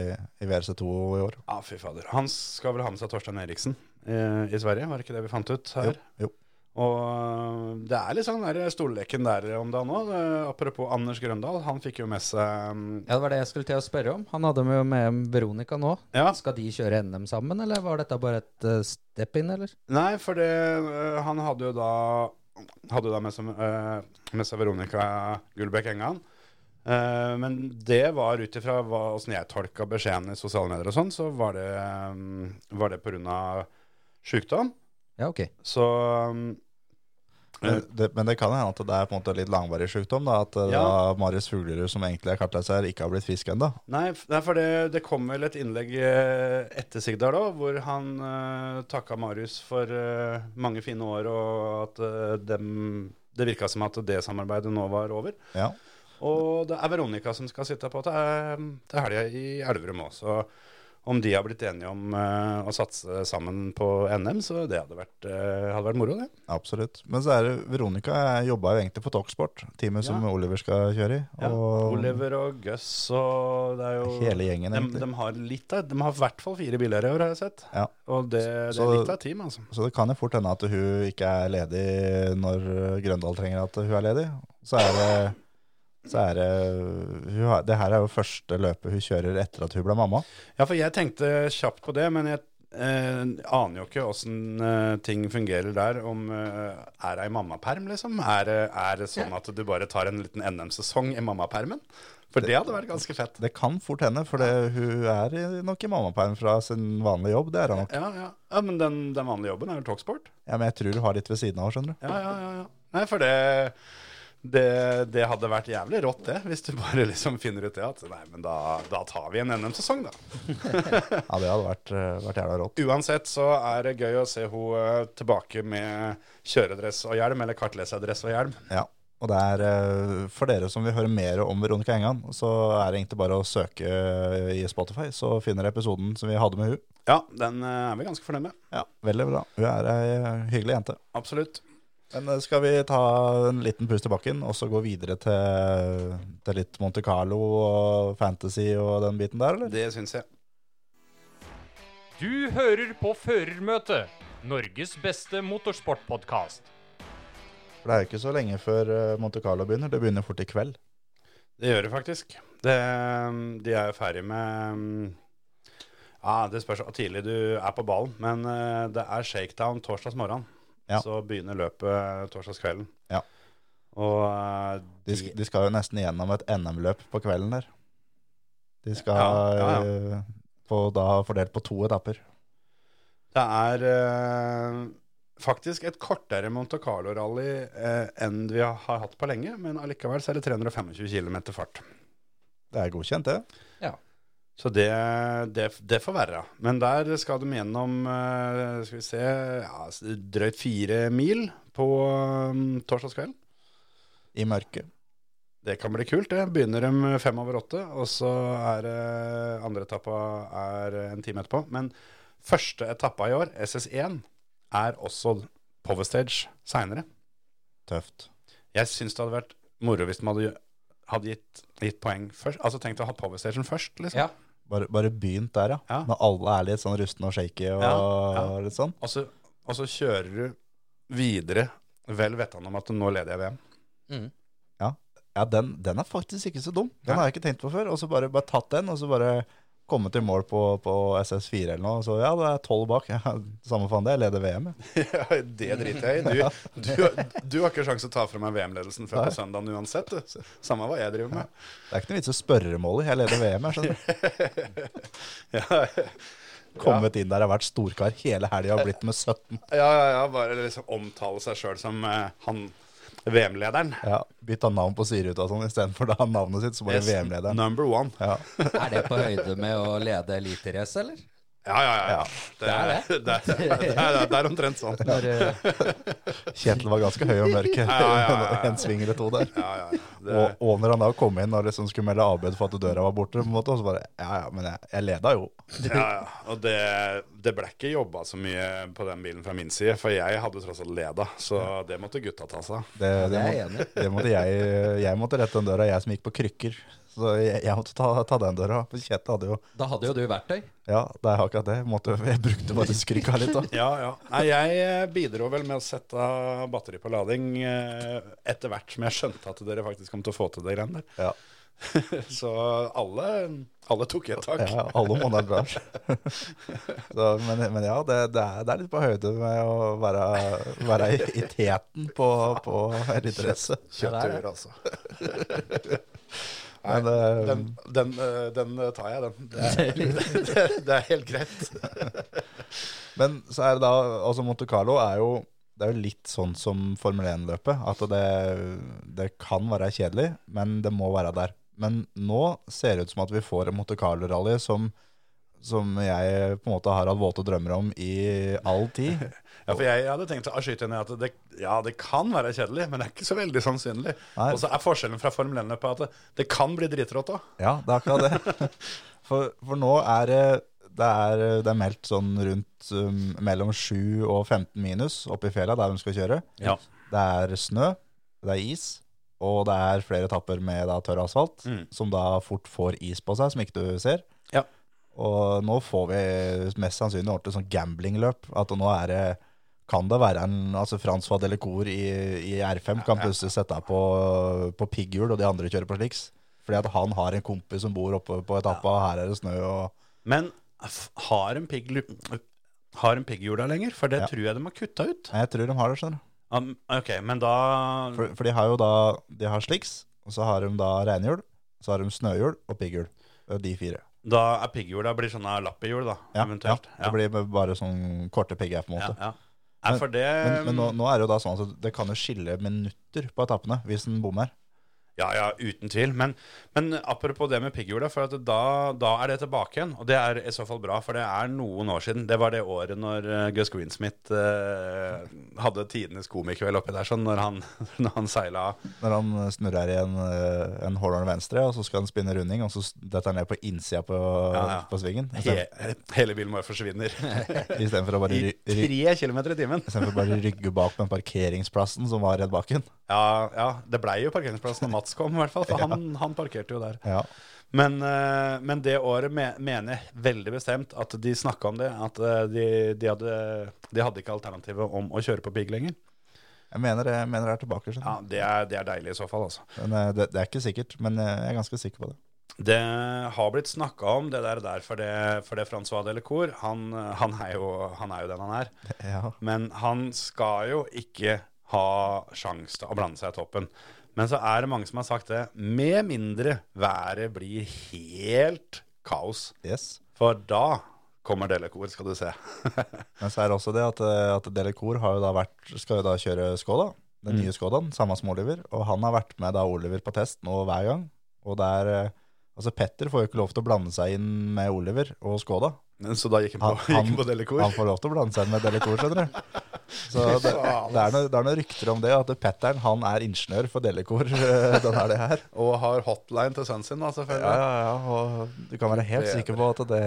S3: i VRC2 i år.
S2: Ja, fy fader. Han skal vel ha med seg Torstein Eriksen eh, i Sverige, var det ikke det vi fant ut her?
S3: Jo, jo.
S2: Og eh, det er litt sånn der stolleken der om dagen òg. Apropos Anders Grøndal, han fikk jo med seg mm,
S4: Ja, det var det jeg skulle til å spørre om. Han hadde med, med Veronica nå.
S2: Ja,
S4: Skal de kjøre NM sammen, eller var dette bare et eh, step in, eller?
S2: nei, for det eh, Han hadde jo da hadde jo da med seg, eh, med seg Veronica Gullbekk Engan. Eh, men det var ut ifra åssen jeg tolka beskjeden i sosiale medier og sånn, så var det, um, var det pga. sjukdom.
S4: Ja, ok.
S2: Så um,
S3: Men det, men det kan hende at det er på en måte litt langvarig sykdom. Da, at eh,
S2: Ja.
S3: da Marius Fuglerud, som egentlig er kartleser, ikke har blitt frisk ennå.
S2: Nei, f- nei, for det, det kom vel et innlegg eh, etter Sigdal òg, hvor han uh, takka Marius for eh, mange fine år, og at eh, dem, det virka som at det samarbeidet nå var over.
S3: Ja.
S2: Og det er Veronica som skal sitte på til, eh, til helga i Elverum òg, så om de har blitt enige om eh, å satse sammen på NM, så det hadde vært, eh, hadde vært moro, det.
S3: Absolutt. Men så er det Veronica jobba jo egentlig på Talksport, teamet som
S2: Ja.
S3: Oliver skal kjøre i.
S2: Ja,
S3: og
S2: Oliver og Gus og det er jo
S3: Hele gjengen,
S2: de,
S3: egentlig.
S2: de har litt av De har i hvert fall fire biler i år, har jeg sett.
S3: Ja.
S2: Og det, det er
S3: Så-
S2: litt av et team, altså.
S3: Så det kan jo fort hende at hun ikke er ledig når eh, Grøndal trenger at hun er ledig. Så er det, så er det hun har, Det her er jo første løpet hun kjører etter at hun ble mamma.
S2: Ja, for jeg tenkte kjapt på det, men jeg eh, aner jo ikke åssen eh, ting fungerer der. Om eh, er det ei mammaperm, liksom? Er, det- er det sånn at du bare tar en liten NM-sesong i mammapermen? For det hadde vært ganske fett.
S3: Det kan fort hende, for det, hun er i- nok i mammaperm fra sin vanlige jobb. Det er hun nok.
S2: Ja, ja. ja men den, den vanlige jobben er jo talksport.
S3: Ja, men jeg tror hun har litt ved siden av, skjønner du.
S2: Ja, ja, ja, ja. Nei, for det, det, det hadde vært jævlig rått, det. Hvis du bare [laughs] liksom finner ut det at nei, men da, da tar vi en NM-sesong, da.
S3: Ja, det hadde vært, eh, vært jævla rått.
S2: Uansett så er det gøy å se henne tilbake med kjøredress og hjelm, eller kartleserdress og hjelm.
S3: Ja. Og det er, eh, for dere som vil høre mer om Veronica Engan, så er det egentlig bare å søke eh, i Spotify, så finner dere episoden som vi hadde med hun.
S2: Ja, den eh, er vi ganske fornøyd med.
S3: Ja, veldig bra. Hun er ei eh, hyggelig jente.
S2: Absolutt.
S3: Men eh, skal vi ta en liten pust i bakken, og så gå videre til, til litt Monte Carlo og fantasy og den biten der, eller?
S2: Det syns jeg.
S5: Du hører på Førermøtet, Norges beste motorsportpodkast.
S3: For det er jo ikke så lenge før eh, Monte Carlo begynner. Det begynner fort i kveld.
S2: Det gjør det faktisk. Det, eh, de er jo ferdig med mm, ja, Det spørs hvor tidlig du er på ballen, men eh, det er shakedown torsdags morgen.
S3: Ja.
S2: Så begynner løpet eh, torsdagskvelden.
S3: Ja.
S2: Og eh,
S3: De, sk- de skal jo nesten gjennom et NM-løp på kvelden der. De skal
S2: Ja, ja,
S3: eh, På, da fordelt på to etapper.
S2: Det er eh, faktisk et kortere Monte Carlo-rally eh, enn vi har hatt på lenge, men allikevel så er det 325 km fart.
S3: Det er godkjent, det.
S2: Så det, det, det får være. Men der skal de gjennom eh, skal vi se, ja, s- drøyt fire mil på eh, torsdagskvelden.
S3: I mørket.
S2: Det kan bli kult, det. Begynner de fem over åtte, og så er det andre etappa er en time etterpå. Men første etappa i år, SS1, er også Power Stage seinere.
S3: Tøft.
S2: Jeg syns det hadde vært moro hvis de hadde, hadde gitt, gitt poeng først. Altså tenkt å ha Power Station først, liksom.
S4: Ja.
S3: Bare, bare begynt der, ja.
S2: Ja.
S3: Når alle er litt sånn rustne og shaky og
S2: Ja, ja.
S3: litt sånn.
S2: Og, så, og så kjører du videre vel vettende om at nå leder jeg [laughs] VM.
S3: Ja, den, den er faktisk ikke så dum. Den
S2: Nei.
S3: har jeg ikke tenkt på før. Og så bare, bare tatt den, og så bare kommet i mål på, på SS4 eller noe. Så ja, det er tolv bak. [laughs] Ja, samme faen det, jeg leder VM. jeg.
S2: Ja, det driter jeg i. Du, du, du har ikke sjanse til å ta fra meg VM-ledelsen før på søndagen uansett. du. Samme hva jeg driver med.
S3: Det er ikke noe vits å spørre målet, jeg leder VM. jeg skjønner. du.
S2: [laughs] Ja,
S3: Kommet inn der, har vært storkar hele helga og blitt med 17.
S2: ja, ja, ja bare liksom omtale seg sjøl som eh, han VM-lederen.
S3: Ja, Bytta navn på Sirut og sånn istedenfor da navnet sitt, så bare
S2: Yes,
S3: VM-lederen.
S2: Number one.
S3: Ja.
S4: Er det på høyde med å lede eliterace, eller?
S2: Ja, ja, ja.
S3: Ja,
S2: Det, er, [laughs] det, er, det, er, det er omtrent sånn.
S4: Når, eh,
S3: Kjetil var ganske høy og mørk.
S2: ja, ja.
S3: [laughs] En sving eller to der.
S2: Ja, ja, ja. Det,
S3: Og, og når han da kom inn og liksom skulle melde avbud for at døra var borte, på en måte, og så bare Ja ja, men jeg, jeg leda jo.
S2: Ja, ja. Og det, det ble ikke jobba så mye på den bilen fra min side, for jeg hadde tross alt leda, så det måtte gutta ta seg av.
S3: Det, det,
S4: det er
S3: må,
S4: jeg enig i.
S3: det måtte jeg, jeg måtte rette den døra, jeg som gikk på krykker. Så jeg, jeg måtte ta, ta den døra. For Kjetil hadde jo
S4: Da hadde jo du verktøy.
S3: Ja, det er akkurat det. Måtte, jeg brukte bare skrykka litt, da.
S2: Ja, ja. Nei, jeg eh, bidro vel med å sette batteri på lading eh, etter hvert som jeg skjønte at dere faktisk kom til å få til det greiene der.
S3: Ja.
S2: Så alle, alle tok et tak.
S3: Ja, alle måneder drar. Så, men, men ja, det, det, er, det er litt på høyde med å være, være i, i teten på, på eliterace.
S2: Kjøttører, altså. Nei,
S3: Men, eh,
S2: den, den, eh, den tar jeg, den. Det er, [laughs] det, det er helt greit.
S3: Men så er det da Altså, Monte Carlo er jo det er jo litt sånn som Formel 1-løpet. At det, det kan være kjedelig, men det må være der. Men nå ser det ut som at vi får en Monte Carlo-rally som, som jeg på en måte har hatt våte drømmer om i all tid.
S2: Ja, for jeg, jeg hadde tenkt å skyte inn i at det, ja, det kan være kjedelig, men det er ikke så veldig sannsynlig.
S3: Nei.
S2: Og så er forskjellen fra Formel 1-løpet at det, det kan bli dritrått òg.
S3: Ja, det er akkurat det. [laughs] For, for nå er det det er, det er meldt sånn rundt um, mellom 7 og 15 minus oppe i fjella der de skal kjøre.
S2: Ja.
S3: Det er snø, det er is, og det er flere etapper med da, tørr asfalt,
S2: Mm.
S3: som da fort får is på seg, som ikke du ser.
S2: Ja.
S3: Og nå får vi mest sannsynlig ordentlig sånn gamblingløp. At nå er det kan det være en altså Frans Vadelecour i, i R5 kan plutselig sette deg på, på pigghjul, og de andre kjører på sliks. Fordi at han har en kompis som bor oppe på etappa, og her er det snø og
S2: Men f- har en pigg- har en pigghjula lenger? For det
S3: Ja.
S2: tror jeg de har kutta ut.
S3: Nei, Jeg tror de har det, skjønner du.
S2: Um, ok, men da
S3: For, for de har jo da De har sliks, og så har de da reinhjul, så har de snøhjul og pigghjul. Det er De fire.
S2: Da er pigghjula blir sånn sånne lappehjul, da,
S3: Ja,
S2: eventuelt.
S3: ja. Det blir bare sånn korte PGF på en måte.
S2: ja. Um, Nei, for det
S3: Men, men nå, nå er det jo da sånn at det kan jo skille minutter på etappene hvis en bommer.
S2: Ja, ja, uten tvil. Men, men apropos det med pigghjula, for at da, da er det tilbake igjen. Og det er i så fall bra, for det er noen år siden. Det var det året når eh, Gus Greensmith eh, hadde tidenes komikveld oppi der, sånn når han, [laughs] når han seila av.
S3: Når han snurrer i en, eh, en hårhåren venstre, og så skal han spinne runding, og så s- detter han ned på innsida på,
S2: Ja, ja.
S3: på svingen. i
S2: He,
S3: stedet-
S2: hele bilen bare forsvinner.
S3: I stedet for å [laughs] bare,
S2: I
S3: ry, ry,
S2: tre kilometer i timen.
S3: i stedet for å bare rygge bak på den parkeringsplassen som var rett bak henne.
S2: Ja, ja, det blei jo parkeringsplass når Mats kom, i hvert fall. For han, han parkerte jo der.
S3: Ja.
S2: Men, eh, men det året me mener jeg veldig bestemt at de snakka om det. At eh, de, de, hadde, de hadde ikke alternativet om å kjøre på pigg lenger.
S3: Jeg mener, det- jeg mener det er tilbake. skjønner
S2: Ja, det er, det er deilig i så fall, altså.
S3: du. Men, eh, det, det er ikke sikkert, men eh, jeg er ganske sikker på det.
S2: Det har blitt snakka om, det der, der for det, for det Francois Delacour. Han, eh, han, er jo, han er jo den han er.
S3: Ja.
S2: Men han skal jo ikke ha sjans til å blande seg i toppen. Men så er det mange som har sagt det. Med mindre været blir helt kaos.
S3: Yes.
S2: For da kommer Delacour, skal du se. [laughs]
S3: Men så er det også det at, eh, at Delecour har jo da vært, skal jo da kjøre Skoda, den nye Skodaen, samme som Oliver, og han har vært med da Oliver på test nå hver gang, og der, eh, altså Petter får jo ikke lov til å blande seg inn med Oliver og Skoda.
S2: så da gikk han på, [laughs]
S3: Han,
S2: gikk han på Delacour.
S3: han får lov til å blande seg inn med Delecour, skjønner [laughs] du. Så det, det, er noe, det er noen rykter om det, at Petteren han er ingeniør for Delecour, eh, [laughs] den er det her.
S2: Og har hotline til sønnen sin, da, selvfølgelig.
S3: Ja, ja, ja, og du kan være helt
S2: Det er
S3: sikker på at, det,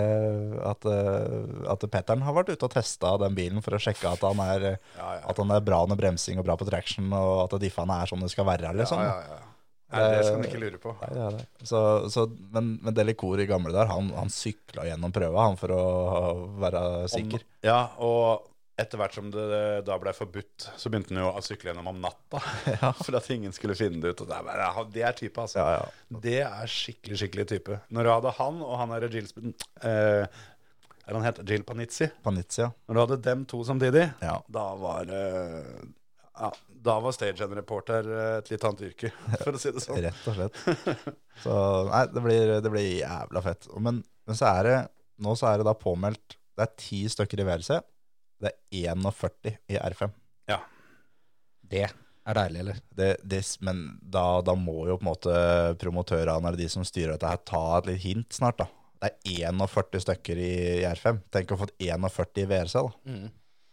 S3: at, eh, at Petteren har vært ute og testa den bilen for å sjekke at han er,
S2: Ja, ja.
S3: At han er bra under bremsing og bra på traction, og at diffene er som det skal være. Liksom.
S2: Ja, ja, ja. Nei, det skal han ikke lure på.
S3: Nei, det er det. Så, så, men, men Delicour i gamle der, han, han sykla gjennom prøva han, for å være sikker.
S2: Ja, og etter hvert som det da ble forbudt, så begynte han jo å sykle gjennom om natta.
S3: [laughs]
S2: [laughs] For at ingen skulle finne det ut. Og det, er bare, ja, det er type, altså.
S3: Ja, ja.
S2: Det er skikkelig, skikkelig type. Når du hadde han og han derre Jill Sp- eh, Er han heter Jill Panizzi?
S3: Panizia.
S2: Når du hadde dem to samtidig,
S3: Ja.
S2: da var det ja, Da var stagehand-reporter eh, et litt annet yrke, [laughs] for å si det sånn.
S3: Rett
S2: [laughs]
S3: og slett. Så nei, det blir, det blir jævla fett. Men, men så er det nå så er det da påmeldt Det er ti stykker i VRC. Det er 41 i R5.
S2: Ja.
S4: Det er deilig, eller?
S3: det, det, men da, da må jo på en måte promotørene eller de som styrer dette her ta et litt hint snart da. Det er 41 stykker i, i R5. Tenk å ha fått 41 i VRC da.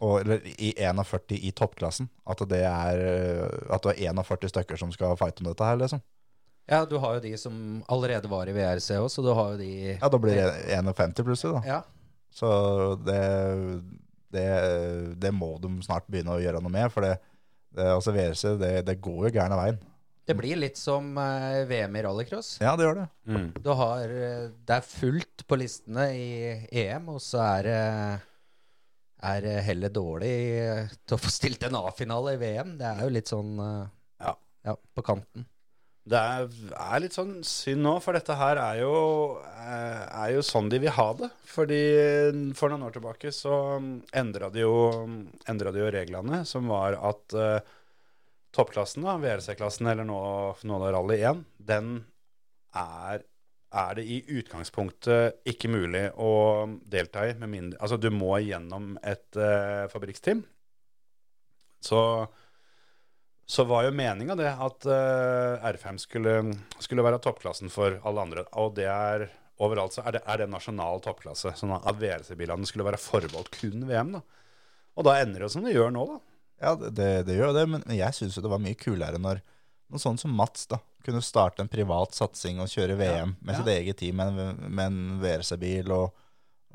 S3: Og, eller i 41 i toppklassen. At det er, øh, at det er 41 stykker som skal fighte om dette her liksom.
S4: Ja, du har jo de som allerede var i VRC òg, så du har jo de
S3: Ja, da blir det 51 plutselig da.
S4: Ja.
S3: Så det, det, det må de snart begynne å gjøre noe med, for det, det altså VRC, det, det går jo gærne veien.
S4: Det blir litt som eh, VM i rallycross.
S3: Ja, det gjør det.
S4: Du har eh, Det er fullt på listene i EM, og så er det er det heller dårlig eh, til å få stilt en A-finale i VM. Det er jo litt sånn eh,
S2: Ja.
S4: ja, på kanten.
S2: Det er, er litt sånn synd nå, for dette her er jo, eh, er jo sånn de vil ha det. Fordi for noen år tilbake så mm, endra de jo, endra de jo reglene, som var at eh, toppklassen, da, VRC-klassen eller nå, nå da Rally 1, den er, er det i utgangspunktet ikke mulig å um, delta i. Med mindre, altså du må gjennom et eh, fabrikksteam. Så så var jo meninga det at eh, R5 skulle, skulle være toppklassen for alle andre. Og det er overalt så er det, er det nasjonal toppklasse. Sånn at VRC-bilene skulle være forbeholdt kun VM. da. Og da ender det jo som det gjør nå, da.
S3: Ja, det, det, det gjør jo det, men jeg syns jo det var mye kulere når noen sånn som Mats da, kunne starte en privat satsing og kjøre VM med sitt eget team med en, med en VRC-bil, og,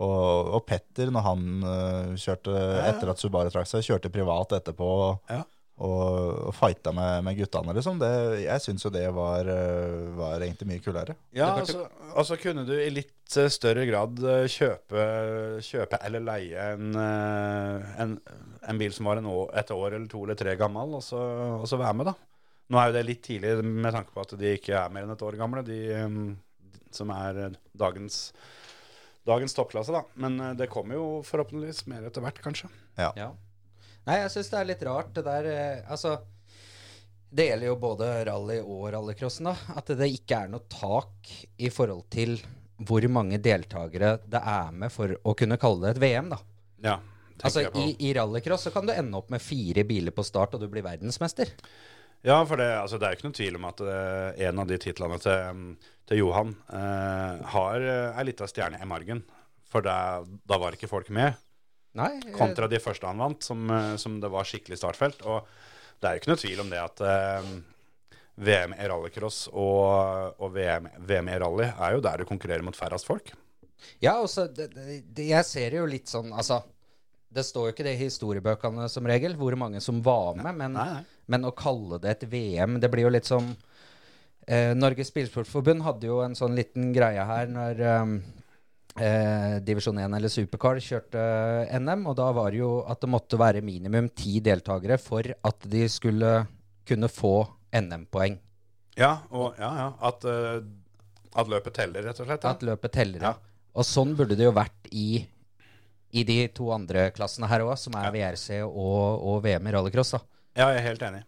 S3: og, og Petter, når han øh, kjørte etter at Subaru trakk seg, kjørte privat etterpå
S2: Ja.
S3: og, og fighta med, med guttene, liksom. Det, jeg syns jo det var, øh, var egentlig mye kulere.
S2: Ja, og så altså kunne du i litt eh, større grad eh, kjøpe, kjøpe eller leie en, eh, en, en bil som var en år, et år eller to eller tre gammel, og så, og så være med, da. Nå er jo det litt tidlig med tanke på at de ikke er mer enn et år gamle, de, eh, de som er eh, dagens, dagens toppklasse, da. Men eh, det kommer jo forhåpentligvis mer etter hvert, kanskje.
S4: Ja. Nei, jeg syns det er litt rart det der eh, Altså, det gjelder jo både rally og rallycrossen, da. At det ikke er noe tak i forhold til hvor mange deltakere det er med for å kunne kalle det et VM, da.
S2: Ja,
S4: Altså, i, i rallycross så kan du ende opp med fire biler på start, og du blir verdensmester.
S2: Ja, for det, altså, det er jo ikke noen tvil om at eh, en av de titlene til, mm, til Johan eh, har uh, ei lita stjerne i margen. For det, da var ikke folk med,
S4: Nei, eh,
S2: kontra de første han vant, som, eh, som det var skikkelig startfelt. Og det er jo ikke noe tvil om det at eh, VM i rallycross og, og VM, VM i rally er jo der du konkurrerer mot færrest folk.
S4: Ja, altså, det, det, det- jeg ser det jo litt sånn, altså Det står jo ikke det i historiebøkene som regel, hvor mange som var med, men,
S2: Nei, nei.
S4: men å kalle det et VM, det blir jo litt som eh, Norges Bilsportforbund hadde jo en sånn liten greie her når eh, eh, Divisjon 1 eller Supercar kjørte NM, og da var det jo at det måtte være minimum ti deltakere for at de skulle kunne få NM-poeng.
S2: Ja, og, ja, ja at, eh, at løpet teller, rett og slett. Ja.
S4: At løpet teller, ja.
S2: Ja.
S4: Og sånn burde det jo vært i, i de to andre klassene her òg, som er VRC og, og VM i rallycross. da.
S2: Ja, jeg er helt enig.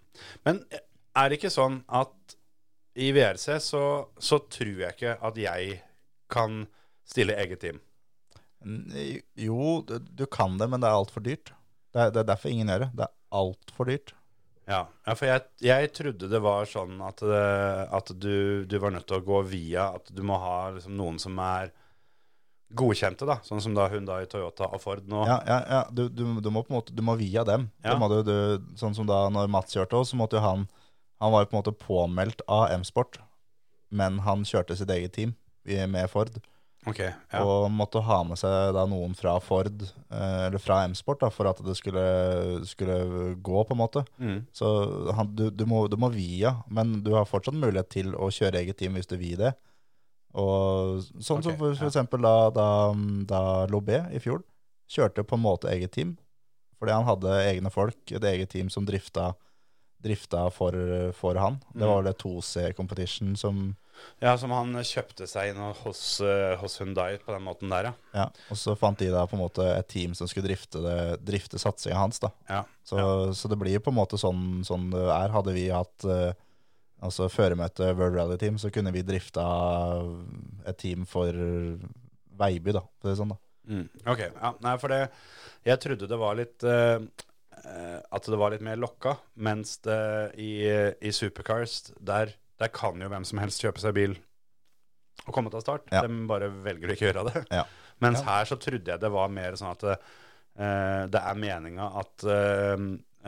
S2: Men eh, er det ikke sånn at i VRC så, så tror jeg ikke at jeg kan stille eget team?
S3: N- Jo, du, du kan det, men det er altfor dyrt. Det er, det er derfor ingen gjør det. Det er altfor dyrt.
S2: Ja, ja for jeg, jeg trodde det var sånn at, det- at du, du var nødt til å gå via at du må ha liksom noen som er godkjente, da. Sånn som da Hyundai, Toyota og Ford nå.
S3: Ja, ja, ja. Du, du, du må på en måte Du må via dem.
S2: Ja.
S3: Det må du, du, sånn som da når Mats kjørte også, så måtte jo han Han var jo på en måte påmeldt av M-Sport, men han kjørte sitt eget team i- med Ford.
S2: Ok, ja.
S3: Og måtte ha med seg da noen fra Ford, eh, eller fra M-Sport, da, for at det skulle, skulle gå, på en måte.
S2: Mm.
S3: Så han, du, du, må, du må via, men du har fortsatt mulighet til å kjøre eget team hvis du vil det. Og sånn som
S2: Ok,
S3: for, for
S2: ja.
S3: eksempel da, da, da Lobé i fjor kjørte på en måte eget team, fordi han hadde egne folk, et eget team som drifta, drifta for, for han.
S2: Mm.
S3: Det var det 2C Competition som
S2: ja, som han kjøpte seg inn hos, eh, hos Hyundai på den måten der, ja.
S3: Ja, og så fant de da på en måte et team som skulle drifte, det, drifte satsinga hans, da.
S2: Ja,
S3: Så, så det blir jo på en måte sånn, sånn det er. Hadde vi hatt eh, altså føremøte World Rally Team, så kunne vi drifta et team for Veiby, da. For å si det sånn, da.
S2: Mm, ok, ja, nei, for det Jeg trodde det var litt eh, eh, At det var litt mer lokka Mens det i, i Supercars der, der kan jo hvem som helst kjøpe seg bil Og komme til start
S3: Ja.
S2: De bare velger å ikke gjøre det
S3: Ja.
S2: Mens her så trodde jeg det var mer sånn at eh, Det er meningen at eh,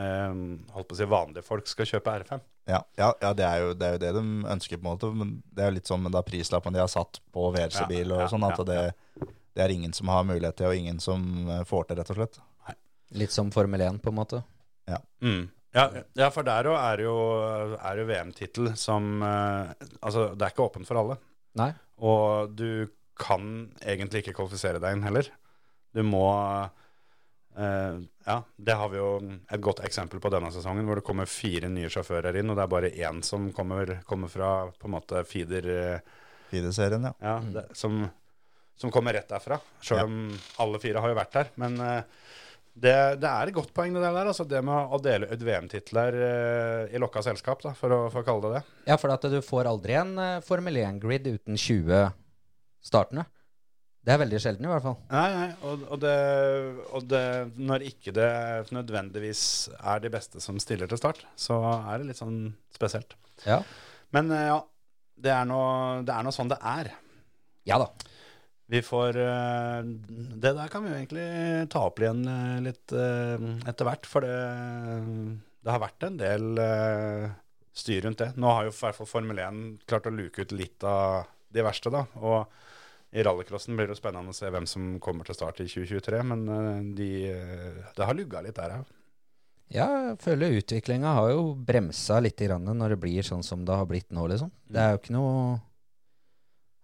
S2: eh, Holdt på å si vanlige folk skal kjøpe R5
S3: Ja, ja, ja det, er jo, det er jo det de ønsker, på en måte. Men det er jo litt sånn med da prislappen de har satt på VRC-bil og
S2: Ja, ja,
S3: sånn, at
S2: ja,
S3: det, det er ingen som har mulighet til, og ingen som eh, får til, rett og slett.
S4: Litt som Formel 1, på en måte.
S2: Mm. Ja, ja, for der også er det jo, er det jo VM-tittel som eh, Altså, det er ikke åpent for alle.
S4: Nei.
S2: Og du kan egentlig ikke kvalifisere deg inn heller. Du må Eh, ja, det har vi jo et godt eksempel på denne sesongen, hvor det kommer fire nye sjåfører inn, og det er bare én som kommer, kommer fra på en måte feeder eh,
S3: Videoserien, ja.
S2: ja, det, som, som kommer rett derfra. Sjøl
S3: Ja.
S2: om alle fire har jo vært der. Men eh, det, det er et godt poeng, det der. Altså det med å dele ut VM-titler eh, i lokka selskap, da, for å, for å kalle det det.
S4: Ja, for at du får aldri en eh, Formel 1-grid uten 20 startende. Det er veldig sjelden, i hvert fall.
S2: Nei, nei, og, og, det, og det, når ikke det nødvendigvis er de beste som stiller til start, så er det litt sånn spesielt.
S4: Ja,
S2: Men eh, ja, det er nå det er nå sånn det er.
S4: ja da.
S2: Vi får eh, Det der kan vi jo egentlig ta opp igjen eh, litt eh, etter hvert, for det, det har vært en del eh, styr rundt det. Nå har jo i hvert fall Formel 1 klart å luke ut litt av de verste, da. Og i rallycrossen blir det jo spennende å se hvem som kommer til start i 2023, men eh, de, eh, det har lugga litt der òg.
S4: Ja, jeg føler utviklinga har jo bremsa litt grann når det blir sånn som det har blitt nå, liksom.
S2: Mm.
S4: Det er jo ikke noe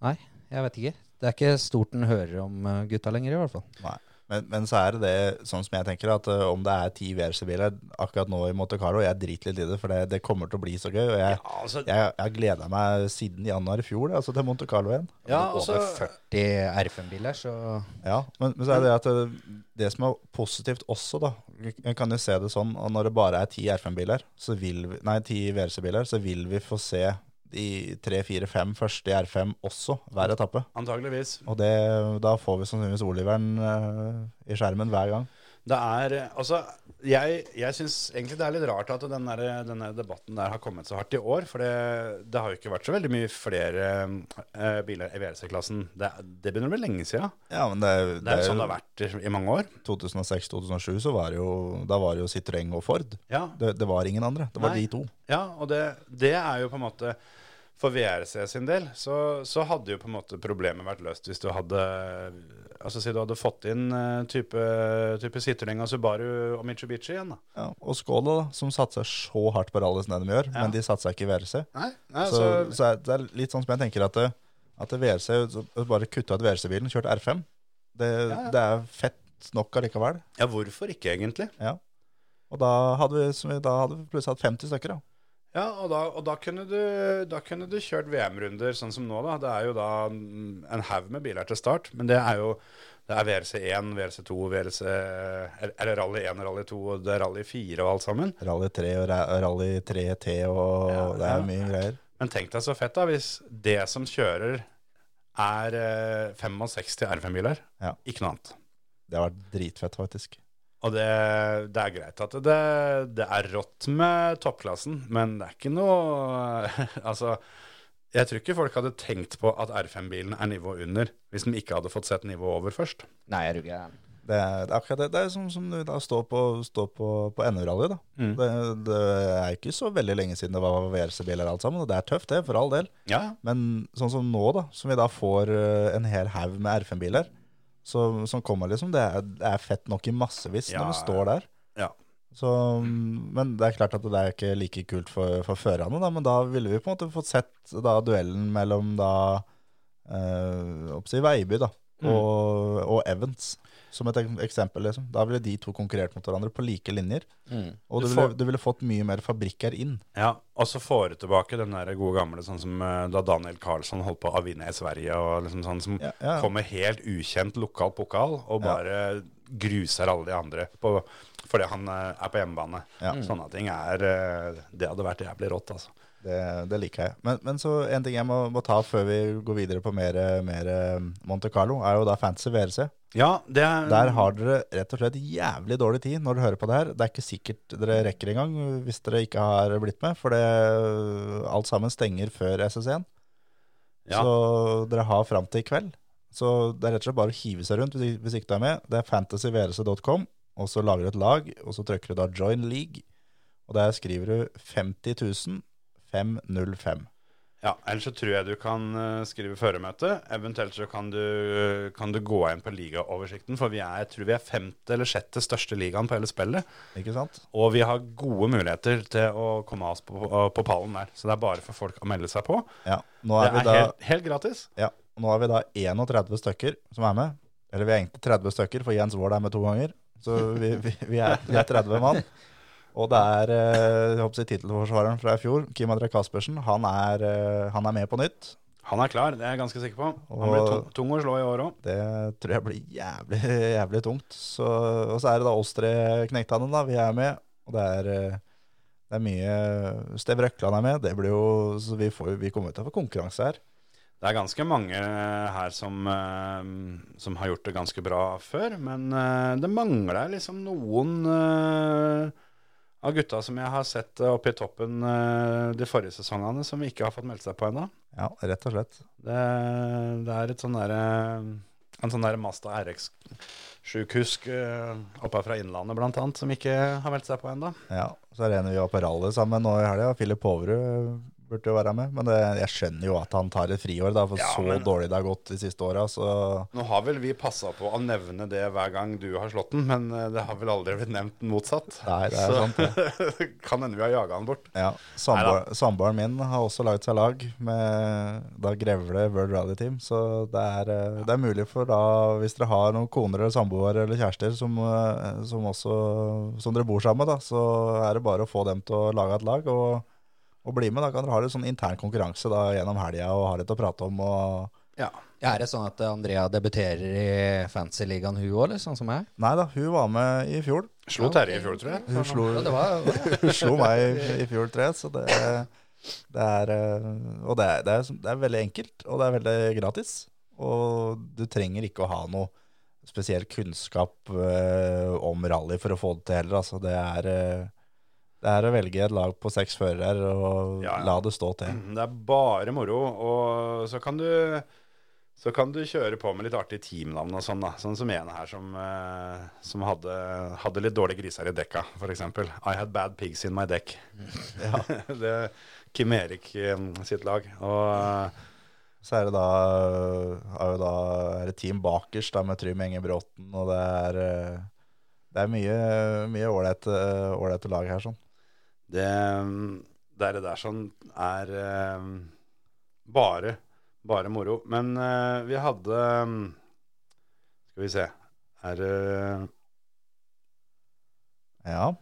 S4: Nei, jeg vet ikke. Det er ikke stort en hører om eh, gutta lenger, i hvert fall.
S3: Men, men så er det det, sånn som jeg tenker, at eh, om det er ti VRC-biler akkurat nå i Monte Carlo, jeg driter litt i det, for det, det kommer til å bli så gøy. Og jeg,
S2: altså,
S3: jeg, jeg har gleda meg siden januar i fjor altså til Monte Carlo igjen.
S2: ja, altså,
S4: Over 40 R5-biler, så
S3: Ja, men, men så er det det at det, det som er positivt også, da Jeg kan jo se det sånn at når det bare er ti R5-biler, så vil vi Nei, ti VRC-biler, så vil vi få se de tre, fire, fem første i R5 også, hver etappe.
S2: antageligvis.
S3: Og det, da får vi sannsynligvis Oliveren eh, i skjermen hver gang.
S2: Det er Altså, jeg, jeg syns egentlig det er litt rart at den der, den der debatten der har kommet så hardt i år. For det, det har jo ikke vært så veldig mye flere eh, biler i VRC-klassen. Det, det begynner å bli lenge siden.
S3: Ja, men det,
S2: Det er jo sånn det har vært i- i mange år.
S3: 2006-2007 så var det jo, da var det jo Citroën og Ford.
S2: Ja,
S3: Det, det var ingen andre. Det var
S2: Nei.
S3: de to.
S2: ja og det, det er jo på en måte For VRC sin del så, så hadde jo på en måte problemet vært løst hvis du hadde Altså si du hadde fått inn eh, type, type Citroën og Subaru og Mitsubishi igjen, da.
S3: Ja, og Skåla, da, som satser så hardt på rally som det de gjør,
S2: Ja.
S3: men de satser ikke i VRC.
S2: Nei, nei, altså-
S3: Så, så er- det er litt sånn som jeg tenker at, det- at det VRC så Bare kutta ut VRC-bilen, kjørt R5. Det,
S2: Ja, ja.
S3: det er fett nok allikevel.
S2: ja, hvorfor ikke, egentlig?
S3: Og da hadde vi, som vi- da hadde vi plutselig hatt 50 stykker, da.
S2: Ja, og da, og da, kunne, du, da kunne du kjørt VM-runder sånn som nå, da. Det er jo da mm, en haug med biler til start, men det er jo det er VRC1, VRC2, VRC Eller eller Rally 1 og Rally 2, og det er Rally 4 og alt sammen.
S3: Rally 3 og ra- Rally 3T og
S2: Ja,
S3: Det er
S2: ja.
S3: mye greier.
S2: Men tenk deg så fett, da, hvis det som kjører, er eh, 65 R5-biler.
S3: Ja.
S2: Ikke noe annet.
S3: Det har vært dritfett, faktisk.
S2: Og det, det er greit at det, det er rått med toppklassen, men det er ikke noe [laughs] Altså, jeg tror ikke folk hadde tenkt på at R5-bilen er nivået under, hvis de ikke hadde fått sett nivået over først.
S4: Nei, er du gæren.
S3: Det er, det er akkurat det. Det er som, som du da står på, står på, på NM-rally, da.
S2: Mm.
S3: Det, det er ikke så veldig lenge siden det var VRC-biler alt sammen, og det er tøft det, for all del.
S2: Ja,
S3: Men sånn som nå, da, som vi da får eh, en hel haug med R5-biler så- som kommer, liksom, det er, det er fett nok i massevis
S2: Ja.
S3: når vi står der.
S2: Ja.
S3: Så, men det er klart at det er ikke like kult for, for førerne, da, men da ville vi på en måte fått sett da duellen mellom da eh, oppsi Veiby da,
S2: Mm.
S3: og, og Evans, som et ek- eksempel. Liksom. Da ville de to konkurrert mot hverandre på like linjer, og
S2: Du
S3: du,
S2: får-
S3: ville, du ville fått mye mer fabrikker inn.
S2: ja. Og så får du tilbake den der gode gamle, sånn som eh, da Daniel Karlsson holdt på å vinne i Sverige, og liksom sånn som
S3: Ja, ja.
S2: kommer helt ukjent lokal pokal og
S3: Ja.
S2: bare gruser alle de andre på, fordi han eh, er på hjemmebane.
S3: Ja.
S2: Sånne ting er eh, Det hadde vært jævlig rått, altså.
S3: Det, det liker jeg. Men, men så en ting jeg må, må ta før vi går videre på mer, mer eh, Monte Carlo, er jo da fantasy VRC.
S2: Ja, det er,
S3: Der har dere rett og slett jævlig dårlig tid når dere hører på det her. Det er ikke sikkert dere rekker engang hvis dere ikke har blitt med, for det, alt sammen stenger før SS1.
S2: Ja.
S3: Så dere har fram til i kveld. Så det er rett og slett bare å hive seg rundt hvis, hvis ikke du er med. Det er fantasyvrc.com, og så lager du et lag, og så trykker du da join league, og der skriver du 50 000 505.
S2: ja, ellers så tror jeg du kan eh, skrive føremøte. Eventuelt så kan du, eh, kan du gå inn på ligaoversikten, for vi er, jeg tror vi er femte eller sjette største ligaen på hele spillet.
S3: Ikke sant?
S2: Og vi har gode muligheter til å komme oss på, på pallen der. Så det er bare for folk å melde seg på.
S3: Ja. Nå
S2: Det
S3: er, vi
S2: er
S3: da,
S2: helt, helt gratis.
S3: ja, nå er vi da 31 stykker som er med. Eller vi er egentlig 30 stykker, for Jens Vård er med to ganger. Så vi, vi, vi, er, vi er 30 mann. Og det er eh, jeg håper å si tittelforsvareren fra i fjor, Kim André Caspersen. Han, er, eh, han er med på nytt.
S2: Han er klar, det er jeg ganske sikker på. Han
S3: Og-
S2: blir tung, tung å slå i år òg.
S3: Det tror jeg blir jævlig, jævlig tungt. Så, og så er det da oss tre knektene, da. Vi er med. Og det er, eh, det er mye Stev Røkland er med. Det blir jo, så vi, får, jo- vi kommer jo til å få konkurranse her.
S2: Det er ganske mange eh, her som, eh, som har gjort det ganske bra før, men eh, det mangler liksom noen eh, av gutta som jeg har sett eh, oppe i toppen eh, de forrige sesongene, som ikke har fått meldt seg på ennå.
S3: Ja, rett og slett.
S2: Det, det er et sånn derre En sånn derre Masta RX-sjukhusk eh, oppe fra Innlandet, blant annet, som ikke har meldt seg på ennå.
S3: Ja, så renner vi jo på rally sammen nå i helga. Filip Poverud burde jo være med. Men det, jeg skjønner jo at han tar et friår, da, for
S2: Ja,
S3: så
S2: men-
S3: dårlig det har gått de siste åra. Så
S2: Nå har vel vi passa på å nevne det hver gang du har slått den, men eh, det har vel aldri blitt nevnt motsatt.
S3: Nei, det er sant,
S2: det. [laughs] kan hende vi har jaga han bort.
S3: ja. samboer- Samboeren min har også laget seg lag med da Grevle World Rally Team. Så det er, eh, det er mulig for da, hvis dere har noen koner eller samboere eller kjærester som, eh, som, også, som dere bor sammen med, da, så er det bare å få dem til å lage et lag og, og bli med. Da kan dere ha litt sånn intern konkurranse da, gjennom helga og ha litt å prate om. og
S2: Ja.
S4: Er det sånn at eh, Andrea debuterer i fantasy-ligaen hun òg, eller sånn som jeg?
S3: Nei da, hun var med i fjor.
S2: Slo Terje i fjor, tror jeg.
S3: Hun slo,
S4: Ja, det var,
S3: hun slo meg i, i fjor tre, så det, det er eh, Og det er, det, er, som- det er veldig enkelt, og det er veldig gratis. Og du trenger ikke å ha noe spesiell kunnskap eh, om rally for å få det til heller. Altså, det er eh, det er å velge et lag på seks førere og
S2: Ja, Mm. ja.
S3: la det stå til.
S2: Det er bare moro, og så kan du så kan du kjøre på med litt artige teamnavn og sånn, da. Sånn som en her som, eh, som hadde, hadde litt dårlige griser i dekka, f.eks. I had bad pigs in my deck. [laughs] det er Kim Erik eh, sitt lag. Og eh,
S3: Så er det da, Eh, er jo da er det team bakerst da, med Trym Engebråten, og det er, eh, det er mye mye ålreite ålreite lag her. sånn.
S2: det, det er det der som er eh, bare, bare moro. Men eh, vi hadde eh, Skal vi se Er det
S3: Ja.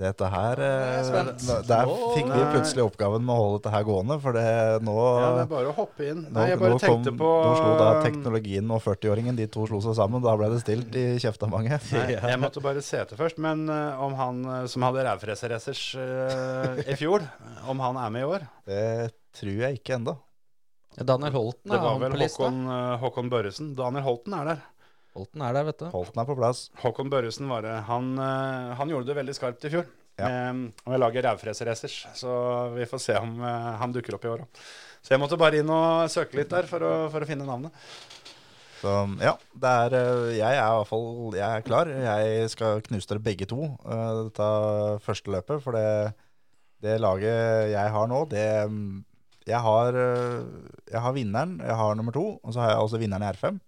S3: Dette her eh,
S4: Nå er jeg spent.
S3: nå- Der
S4: Nå-
S3: fikk vi plutselig oppgaven med å holde dette her gående, for det nå
S2: Ja, det er bare å hoppe inn.
S3: nå-
S2: Nei, jeg bare
S3: nå kom-
S2: tenkte på um,
S3: Nå slo da teknologien og 40-åringen, de to slo seg sammen. Da ble det stilt i kjeft av mange.
S2: [laughs] Nei, jeg måtte bare se etter først, men eh, om han eh, som hadde rævfreseracers i fjor, om han er med i år?
S3: Det tror jeg ikke ennå.
S4: Daniel Holten
S2: Det
S4: er
S2: var
S4: han
S2: vel
S4: på lista.
S2: Håkon, eh, Håkon Børresen. Daniel Holten er der.
S4: Holten er der, vet du.
S3: Holten er på plass.
S2: Håkon Børresen var det. Han, eh, han gjorde det veldig skarpt i fjor.
S3: Ja.
S2: Med, og jeg lager rævfreseracers, så vi får se om eh, han dukker opp i år òg. Så jeg måtte bare inn og søke litt der for å, for å finne navnet.
S3: Så ja, det er, eh, jeg er i hvert fall jeg er klar. Jeg skal knuse dere begge to eh, dette første løpet. For det, det laget jeg har nå, det mm, jeg har, eh, jeg har vinneren, jeg har nummer to, og så har jeg også vinneren i R5.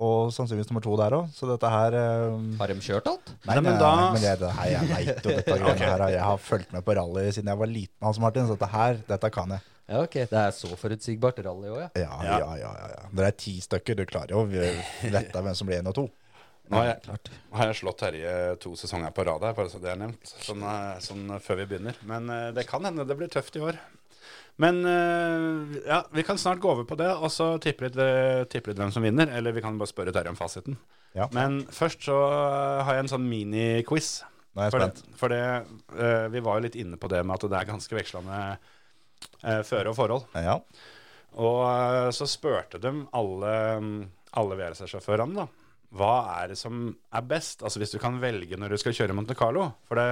S3: Og sannsynligvis nummer to der òg, så dette her eh,
S4: Har de kjørt alt?
S3: Nei,
S2: Nei, men
S3: nei,
S2: da-
S3: nei, men jeg, det her, jeg vet [laughs] jo dette greiene her. Jeg har fulgt med på rally siden jeg var liten, Hans Martin, så dette her, dette kan jeg.
S4: Ja, ok. Det er så forutsigbart rally òg, ja.
S3: Ja, ja, ja. ja, ja. Dere er ti stykker, du klarer jo å vite hvem som blir én og to.
S2: Nå har jeg, nå har jeg slått Terje to sesonger på rad her, bare så det er nevnt. Sånn, eh, sånn før vi begynner. Men eh, det kan hende det blir tøft i år. Men eh, ja, vi kan snart gå over på det, og så tippe litt, eh, tippe litt hvem som vinner. Eller vi kan bare spørre Terje om fasiten.
S3: Ja.
S2: Men først så eh, har jeg en sånn mini-quiz.
S3: Nå er jeg
S2: For
S3: spent.
S2: det, for det eh, vi var jo litt inne på det med at det er ganske vekslende eh, føre og forhold.
S3: Ja.
S2: Og eh, så spurte de alle, mm, alle VRC-sjåførene da, hva er det som er best? Altså hvis du kan velge når du skal kjøre Monte Carlo, for det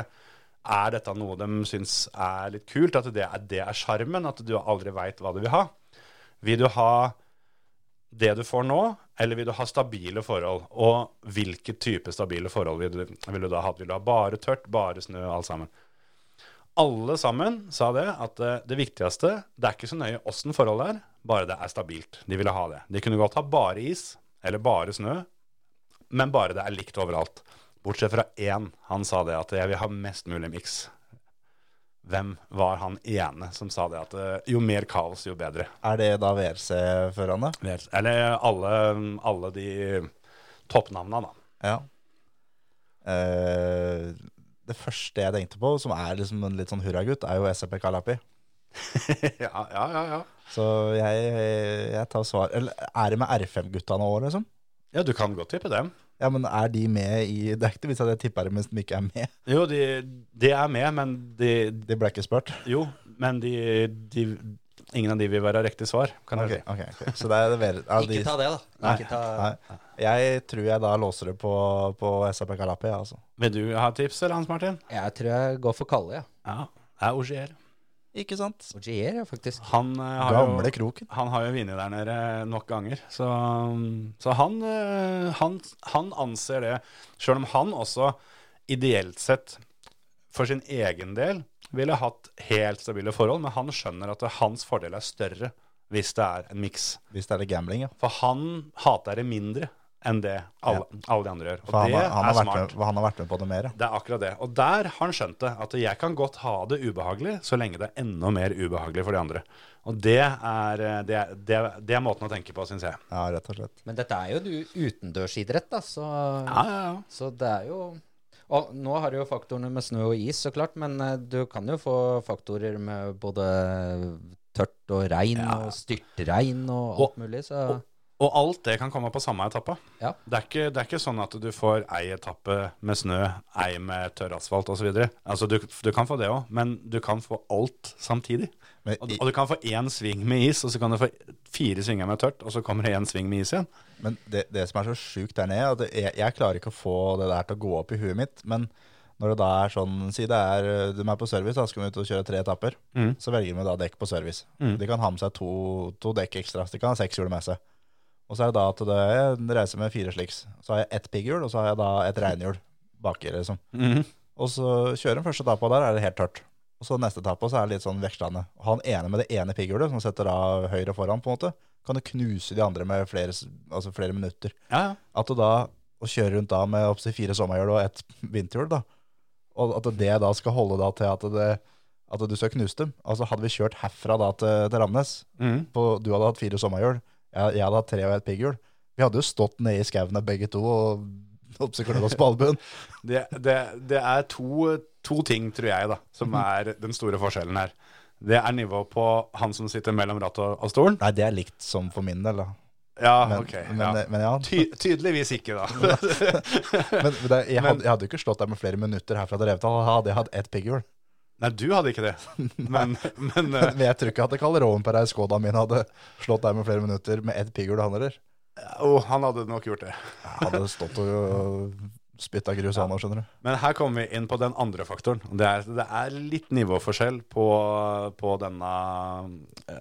S2: er dette noe de syns er litt kult, at det er, det er skjermen, at du aldri vet hva du vil ha. Vil du ha det du får nå, eller vil du ha stabile forhold? Og hvilke type stabile forhold vil du, vil du da ha? Vil du ha bare tørt, bare snø, alt sammen? Alle sammen sa det, at eh, det viktigste, det er ikke så nøye åssen forholdet er, bare det er stabilt. De ville ha det. De kunne godt ha bare is, eller bare snø, men bare det er likt overalt. Bortsett fra én. Han sa det at jeg vil ha mest mulig miks. Hvem var han ene som sa det at eh, jo mer kaos, jo bedre? eh,
S3: Er det da VRC-førerne?
S2: Vel, Eller alle, alle de toppnavna, da.
S3: Ja. Eh, det første jeg tenkte på, som er liksom en litt sånn hurragutt, er jo SRP Kalapi.
S2: ja, ja, ja, ja.
S3: Så jeg, jeg tar svar Eller er det med R5-gutta nå, liksom?
S2: Ja, du kan godt tippe dem.
S3: Ja, men er de med i Det er ikke vits at jeg tipper det mens de ikke er med.
S2: Jo, de, de er med, men de
S3: De ble ikke spurt.
S2: Jo, men de, de Ingen av de vil være riktig svar. Kan
S3: Ok,
S2: jeg si.
S3: ok, ok. Så det er det vel- ja, de,
S4: Ikke ta det, da. Ikke ta...
S3: nei. Jeg tror jeg da låser det på, på SRP Kalapi, ja, altså.
S2: Vil du ha tips, eller Hans Martin?
S4: Jeg tror jeg går for Kalle, ja.
S2: Ja, det er Ogier.
S3: Ikke sant?
S4: Ogier, ja, faktisk.
S2: Han eh, har jo
S3: Gamle kroken.
S2: Han har jo vunnet der nede nok ganger, så, så han, eh, han, han anser det. Sjøl om han også ideelt sett for sin egen del ville hatt helt stabile forhold, men han skjønner at det, hans fordel er større hvis det er en miks.
S3: Hvis det er litt gambling, ja.
S2: For han hater det mindre enn det alle, alle de andre gjør. Og
S3: For han,
S2: det
S3: har- han, har
S2: er
S3: vært
S2: smart.
S3: med, han har vært med på det mer, ja.
S2: Det er akkurat det. Og der har han skjønt det. At jeg kan godt ha det ubehagelig, så lenge det er enda mer ubehagelig for de andre. Og det er, eh, det, er- det, er- det er måten å tenke på, syns jeg.
S3: ja rett og slett.
S4: Men dette er jo du- utendørsidrett, da, så
S2: Ja, ja, ja.
S4: Så det er jo Og nå har du jo faktorene med snø og is, så klart, men eh, du kan jo få faktorer med både tørt og regn
S2: Ja.
S4: og styrtregn og alt
S2: Og-
S4: mulig, så
S2: og- Og alt det kan komme på samme etappa.
S4: Ja.
S2: Det, er ikke, det er ikke sånn at du får ei etappe med snø, ei med tørr asfalt osv. Altså, du, du kan få det òg, men du kan få alt samtidig.
S3: Men,
S2: Og,
S3: i-
S2: og du kan få én sving med is, og så kan du få fire svinger med tørt, og så kommer det én sving med is igjen.
S3: Men det, det som er så sjukt der nede, at jeg, jeg klarer ikke å få det der til å gå opp i huet mitt. Men når det da er sånn, si det er, de er på service, da skal de ut og kjøre tre etapper. Så velger de da dekk på service. De kan ha med seg to, to dekk ekstra, så de kan ha seks hjul med seg. Og så er det da at det, jeg reiser med fire sliks. Så har jeg ett pigghjul, og så har jeg da et regnhjul baki, liksom.
S2: Mhm.
S3: Og så kjører den første etappa, og der er det helt tørt. Og så neste etappe, og så er det litt sånn vekslende. Og Han ene med det ene pigghjulet, som setter av høyre foran, på en måte, kan jo knuse de andre med flere, s- altså flere minutter.
S2: Ja, ja.
S3: At du da, å kjøre rundt da med opptil fire sommerhjul og ett vinterhjul, da, og at det da skal holde da til at, det, at du skal knuse dem. Altså hadde vi kjørt herfra da til, til Ramnes, på, du hadde hatt fire sommerhjul, jeg, jeg hadde hatt tre og et pigghjul. Vi hadde jo stått nede i skauene begge to og opptil klødd oss på albuen.
S2: Det, det, det er to, to ting, tror jeg, da,
S3: Mhm.
S2: som er den store forskjellen her. Det er nivået på han som sitter mellom rattet og, og stolen.
S3: Nei, det er likt som for min del, da.
S2: Ja,
S3: Men,
S2: ok.
S3: men,
S2: ja.
S3: men Ah, ja.
S2: Ty, tydeligvis ikke, da.
S3: [laughs] Men det, jeg, hadde, jeg hadde jo ikke slått deg med flere minutter herfra til Revetal. Hadde jeg hatt ett pigghjul.
S2: Nei, du hadde ikke det. Men, men eh,
S3: Men jeg tror ikke at Karl Rovenperei Skoda min hadde slått deg med flere minutter med ett pigghjul, han heller.
S2: oh, han hadde nok gjort det.
S3: Jeg Hadde stått og spytta grus, han òg, skjønner du.
S2: Men her kommer vi inn på den andre faktoren. Det er, det er litt nivåforskjell på, på denne eh,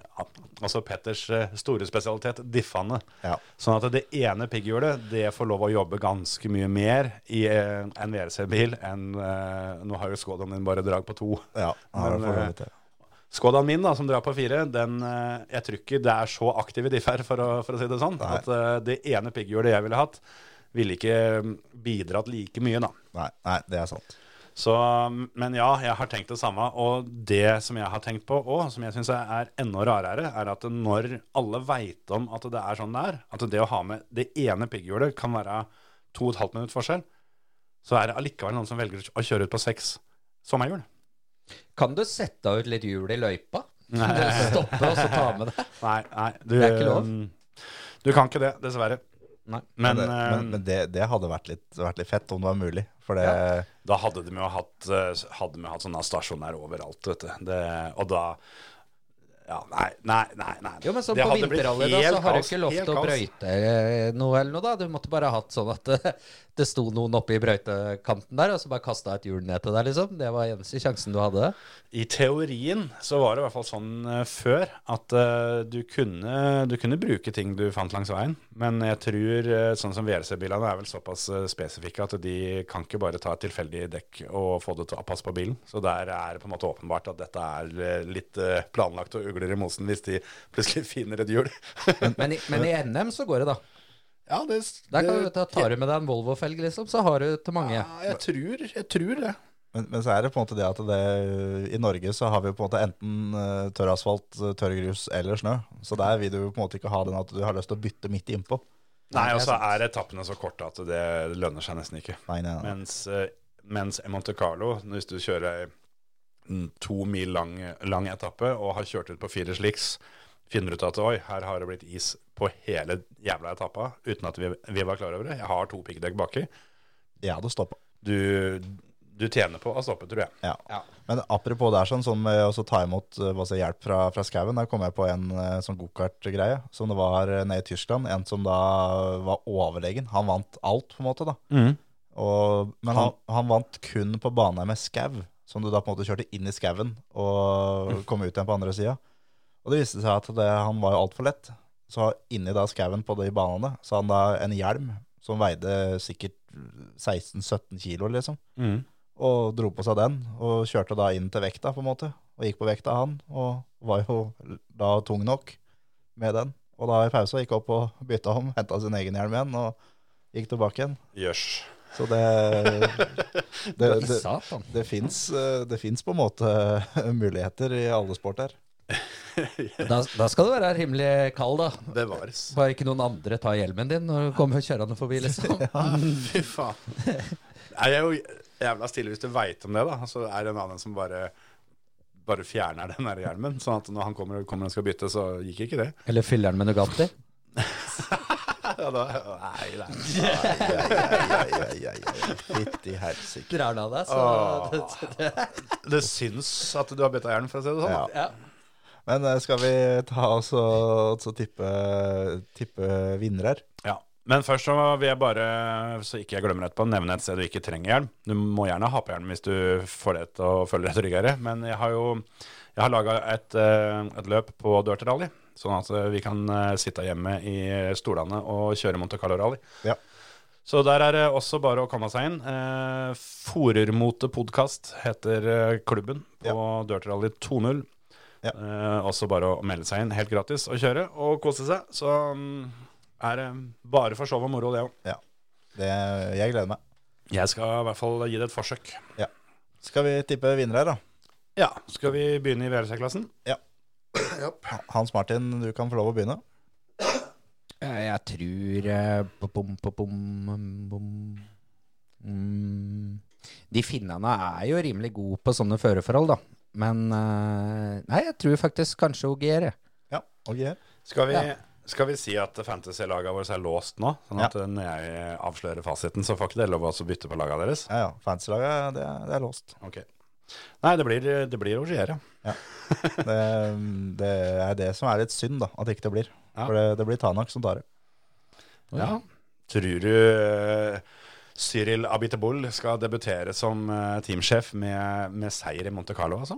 S2: Altså Petters eh, store spesialitet, diffene.
S3: Ja.
S2: Sånn at det ene pigghjulet det får lov å jobbe ganske mye mer i eh, en WRC-bil enn eh, Nå har jo Skodaen din bare drag på to.
S3: Ja, eh, han har
S2: Men,
S3: for så vidt det.
S2: Skodaen min, da, som drar på fire, den, eh, jeg tror ikke det er så aktive differ, for å, for å si det sånn.
S3: Nei.
S2: At eh, det ene pigghjulet jeg ville hatt, ville ikke mm, bidratt like mye, da.
S3: Nei, nei, det er sant.
S2: Så, men ja, jeg har tenkt det samme. Og det som jeg har tenkt på òg, som jeg syns er enda rarere, er at når alle veit om at det er sånn det er, at det å ha med det ene pigghjulet kan være to og et halvt minutt forskjell, så er det allikevel noen som velger å kjøre ut på seks sommerhjul.
S4: Kan du sette ut litt hjul i løypa?
S2: [laughs] Nei.
S4: Du stopper og så ta med det?
S2: Nei, nei du, um,
S4: Det er ikke lov.
S2: Du kan ikke det, dessverre.
S4: Nei.
S2: Men,
S3: Men, det, men,
S2: eh,
S3: men det, det hadde vært litt, vært litt fett om det var mulig. For det,
S2: Da hadde de jo hatt, eh, hadde de jo hatt sånne stasjoner overalt, vet du. Det, og da ja, nei, nei, nei. nei.
S4: Jo, men så
S2: Det
S4: på
S2: hadde blitt
S4: vinterrally da, så
S2: helt
S4: har du
S2: kaos,
S4: ikke lov
S2: helt
S4: til å
S2: kaos.
S4: brøyte eh, noe eller noe, da. Du måtte bare hatt sånn at [laughs] det, det sto noen oppe i brøytekanten der, og så bare kasta et hjul ned til deg, liksom. Det var eneste sjansen du hadde.
S2: I teorien så var det i hvert fall sånn eh, før at eh, du, kunne, du kunne bruke ting du fant langs veien, men jeg tror eh, sånn som VRC-bilene er vel såpass eh, spesifikke at de kan ikke bare ta et tilfeldig dekk og få det til å passe på bilen. Så der er det på en måte åpenbart at dette er eh, litt eh, planlagt og ugler i mosen hvis de plutselig [laughs] finner et hjul.
S4: Men i, men i NM så går det, da.
S2: ja, det,
S4: Der kan du, da tar du med deg en Volvo-felg, liksom, så har du til mange.
S2: ja, jeg tror, jeg tror det.
S3: men, men så er det på en måte det at det, i Norge så har vi på en måte enten eh, tørr asfalt, tørr grus eller snø. Så der vil du på en måte ikke ha den at du har lyst til å bytte midt innpå.
S2: Nei, og
S4: det er
S2: så
S4: sant.
S2: er etappene så korte at det lønner seg nesten ikke.
S3: Nei, nei, nei.
S2: Mens, eh, mens Monte Carlo, hvis du kjører en to mil lang, lang etappe og har kjørt ut på fire sliks, finner ut at oi, her har det blitt is på hele jævla etappa uten at vi, vi var klar over det. Jeg har to piggdekk baki.
S3: Jeg hadde stoppa.
S2: Du, du tjener på å stoppe, tror jeg.
S3: Ja.
S4: Ja.
S3: Men apropos det er sånn, sånn med å så ta imot eh, altså hjelp fra, fra skauen, der kom jeg på en eh, sånn gokart-greie som det var eh, nede i Tyskland. En som da var overlegen. Han vant alt, på en måte. da. Og, men han, han vant kun på bane med skau, som du da på en måte kjørte inn i skauen og kom ut igjen på andre sida. Og det viste seg at det, han var jo altfor lett. Så inni da skauen på de banene så hadde han da en hjelm som veide sikkert 16-17 kilo, liksom
S4: Mm.
S3: og dro på seg den, og kjørte da inn til vekta, på en måte. Og gikk på vekta, han, og var jo da tung nok med den. Og da i pausa gikk opp og bytta om, henta sin egen hjelm igjen, og gikk tilbake igjen.
S2: Jøss.
S3: Så [laughs] det Det,
S4: I
S3: det,
S4: satan.
S3: det fins eh, det fins på en måte [laughs] muligheter i alle sporter. [laughs]
S4: Da, da skal du være rimelig kald, da.
S2: Bevares.
S4: Bare ikke noen andre tar hjelmen din når du kommer kjørende forbi, [laughs] liksom.
S2: [laughs] Fy faen. Det er jo jævla stille hvis du veit om det, da. Så er det en annen som bare bare fjerner den der hjelmen, sånn at når han kommer, kommer og skal bytte, så gikk ikke det.
S4: Eller fyller den med Nugatti.
S2: Ja, da, nei, nei.
S3: Fytti helsike.
S4: Drar den av
S2: Åh.
S4: deg, så det, det,
S2: [laughs] Det syns at du har bytta hjelm, for å si det sånn.
S3: Ja.
S4: ja.
S3: Men eh, skal vi ta oss og så tippe, tippe vinnere? her?
S2: Ja. Men først så vil jeg bare, så ikke jeg glemmer etterpå, nevne et sted du ikke trenger hjelm. Du må gjerne ha på hjelm hvis du får det til å føle deg tryggere. Men jeg har jo jeg har laga et, eh, et løp på Dirt Rally, sånn at eh, vi kan eh, sitte hjemme i stolene og kjøre Monte Carlo Rally.
S3: Ja.
S2: Så der er det også bare å komme seg inn. Eh, Forermote podkast heter eh, klubben på Dirt Rally 2.0.
S3: Ja.
S2: Eh, også bare å melde seg inn helt gratis og kjøre og kose seg. Så mm, er det bare for show og moro, det òg.
S3: Ja. Det, jeg gleder meg.
S2: Jeg skal i hvert fall gi det et forsøk.
S3: Skal vi tippe vinnere her, da?
S2: Ja, Skal vi begynne i VRC-klassen?
S3: Hans Martin, du kan få lov å begynne.
S4: Eh, Jeg tror eh, bom, bom, bom, bom, bom. Mm. De finnene er jo rimelig gode på sånne føreforhold, da. Men eh, Nei, jeg tror faktisk kanskje OGR. jeg.
S3: Ja, og Geir.
S2: Skal vi,
S4: Ja.
S2: skal vi si at fantasy-laga våre er låst nå? Sånn at når jeg avslører fasiten, så får ikke dere lov å også bytte på laga deres?
S3: Ja, ja. Fancylaget, det, det er låst.
S2: Ok. Nei, det blir, det blir Ogier, ja.
S3: Det, det er det som er litt synd, da, at ikke det blir.
S2: Ja.
S3: For det, det blir Tanak som tar det.
S2: Ja. Tror du eh, Cyril Abiteboul skal debutere som eh, teamsjef med, med seier i Monte Carlo, altså?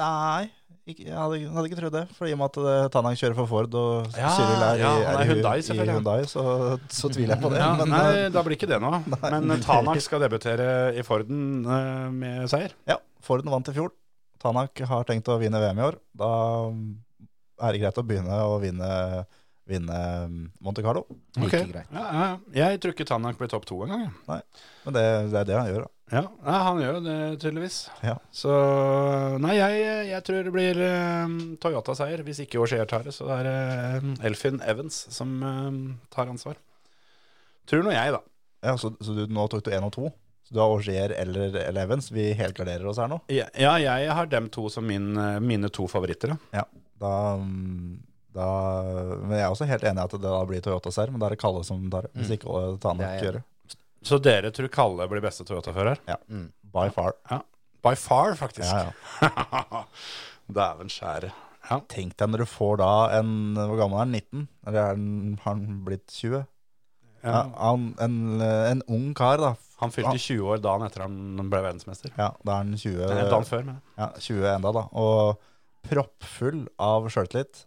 S3: Nei, ikke, jeg hadde, hadde ikke trodd det. For i og med at eh, Tanak kjører for Ford, og
S2: Ja,
S3: Cyril er, i-
S2: ja, han
S3: er,
S2: er
S3: i Hu-
S2: Hyundai,
S3: i
S2: selvfølgelig.
S3: Hyundai, så, så tviler jeg på det.
S2: Ja,
S3: men
S2: nei,
S3: eh,
S2: da blir ikke det
S3: [laughs]
S2: noe. Men Tanak skal debutere i Forden eh, med seier.
S3: ja, Forden vant i fjor. Tanak har tenkt å vinne VM i år. Da er det greit å begynne å vinne, vinne mm, Monte Carlo.
S4: Like
S2: Ok.
S4: greit.
S2: Ja, ja. Jeg tror ikke Tanak blir topp to engang. jeg.
S3: Men det, det er det han gjør, da.
S2: Ja, ja, han gjør jo det, tydeligvis.
S3: Ja.
S2: Så Nei, jeg, jeg tror det blir eh, Toyota-seier. Hvis ikke Auger tar det, så er det eh, Elfin Evans som eh, tar ansvar. Tror nå jeg, da.
S3: Ja, så, så du, nå tok du én og to? Så du har Auger eller, eller Evans? Vi helgarderer oss her nå.
S2: Ja, ja, jeg har dem to som min, uh, mine to favoritter. da.
S3: Da, mm, da, men jeg er også helt enig i at det da blir Toyota Serr, men da er det Kalle som tar det. Hvis ikke alle
S4: Mm. Det
S3: tar nok
S4: er jeg
S3: gjøre.
S2: Så dere tror Kalle blir beste Toyota-fører?
S4: Mm.
S3: By far.
S2: By far, faktisk.
S3: Ja, ja.
S2: Dæven [laughs] skjære. Ja.
S3: Tenk deg når du får da en Hvor gammel er han? 19? Eller er han, har han blitt 20? Ja,
S2: Ja.
S3: han, en, en ung kar, da.
S2: Han fylte 20 år dagen etter han ble verdensmester.
S3: Ja, da er han 20,
S2: Nei, dagen før, men.
S3: ja, 20 enda, da. Og proppfull av sjøltillit.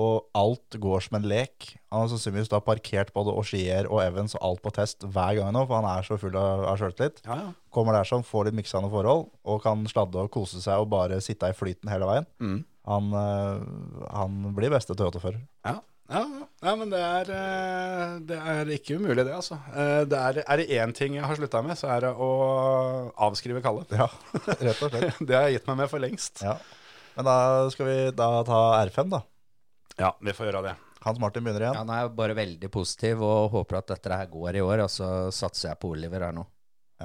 S3: og alt går som en lek. Han har sannsynligvis da parkert både Auxier og Evans og alt på test hver gang nå, for han er så full av, av sjøltillit.
S2: Ja, ja.
S3: Kommer der som får litt miksende forhold, og kan sladde og kose seg og bare sitte i flyten hele veien.
S2: Mm.
S3: Han, eh, han blir beste Toyota-fører.
S2: Ja. Ja, ja. ja, men det er, eh, det er ikke umulig, det, altså. Eh, Det er, er det én ting jeg har slutta med, så er det å avskrive Kalle.
S3: Ja, [laughs] rett og slett.
S2: [laughs] Det har jeg gitt meg med for lengst.
S3: Ja. Men da skal vi da ta R5, da.
S2: Ja, vi får gjøre det.
S3: Hans Martin begynner igjen.
S4: Han er bare veldig positiv og håper at dette her går i år, og så satser jeg på Oliver her nå.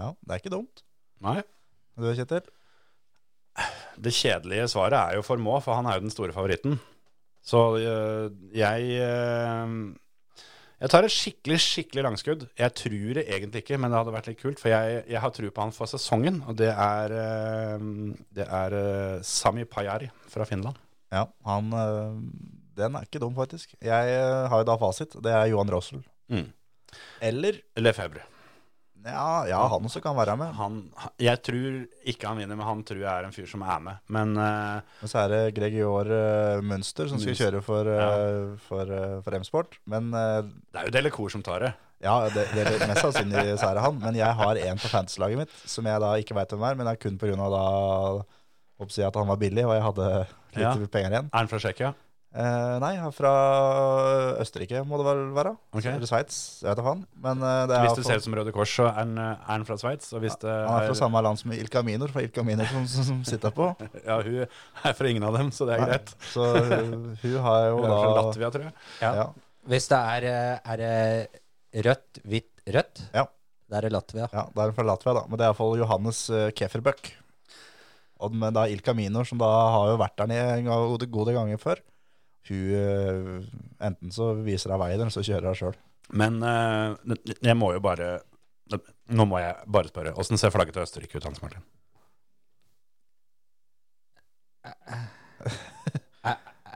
S3: Ja, Det er ikke dumt.
S2: Nei.
S3: Du, Kjetil?
S2: Det kjedelige svaret er jo Formå, for han er jo den store favoritten. Så øh, jeg øh, Jeg tar et skikkelig, skikkelig langskudd. Jeg tror det egentlig ikke, men det hadde vært litt kult. For jeg, jeg har tro på han for sesongen, og det er, øh, det er øh, Sami Pajari fra Finland.
S3: Ja, han øh, Den er ikke dum, faktisk. Jeg øh, har jo da fasit. Det er Johan Rossel.
S2: Mm.
S3: Eller
S2: Lefebvre.
S3: Ja, ja han også kan være med.
S2: Han, jeg tror ikke han vinner, men han tror jeg er en fyr som er med. Men øh,
S3: Men så er det Gregior øh, Mønster som skal
S2: Mønster.
S3: kjøre for, øh, for, øh, for M-Sport. Men øh,
S2: det er jo Delecour som tar det.
S3: Ja, det, det, det mest sannsynlig så er det han. Men jeg har en på fantasy-laget mitt som jeg da ikke veit hvem er, men det er kun pga. da håper jeg at han var billig, og jeg hadde litt
S2: Ja.
S3: penger igjen.
S2: Er han fra Tsjekkia?
S3: Eh, nei, han er fra Østerrike må det vel være.
S2: Ok.
S3: Eller Sveits, jeg vet da faen. Men eh, det er
S2: Hvis det
S3: iallfall-
S2: ser ut som Røde Kors, så er han, eh, er han fra Sveits. Og hvis det
S3: han er fra samme land som Ilka Minor, fra Ilka Minor som, som, som sitter på.
S2: Ja, hun er fra ingen av dem, så det er
S3: Nei,
S2: greit.
S3: Så hun hun har jo
S2: Hun er
S3: da
S2: fra Latvia, tror jeg.
S3: Ja.
S4: Hvis det er, eh, er det rødt, hvitt, rødt,
S3: Ja.
S4: da er det Latvia.
S3: Ja, det er fra Latvia, da. Men det er iallfall Johannes eh, Kefferbøck. Og den- men da Ilka Minor, som da har jo vært der nede en gang- gode ganger før, hun eh, enten så viser hun veien, eller så kjører hun sjøl.
S2: Men eh, jeg må jo bare Nå må jeg bare spørre. Åssen ser flagget til Østerrike ut, Hans Martin?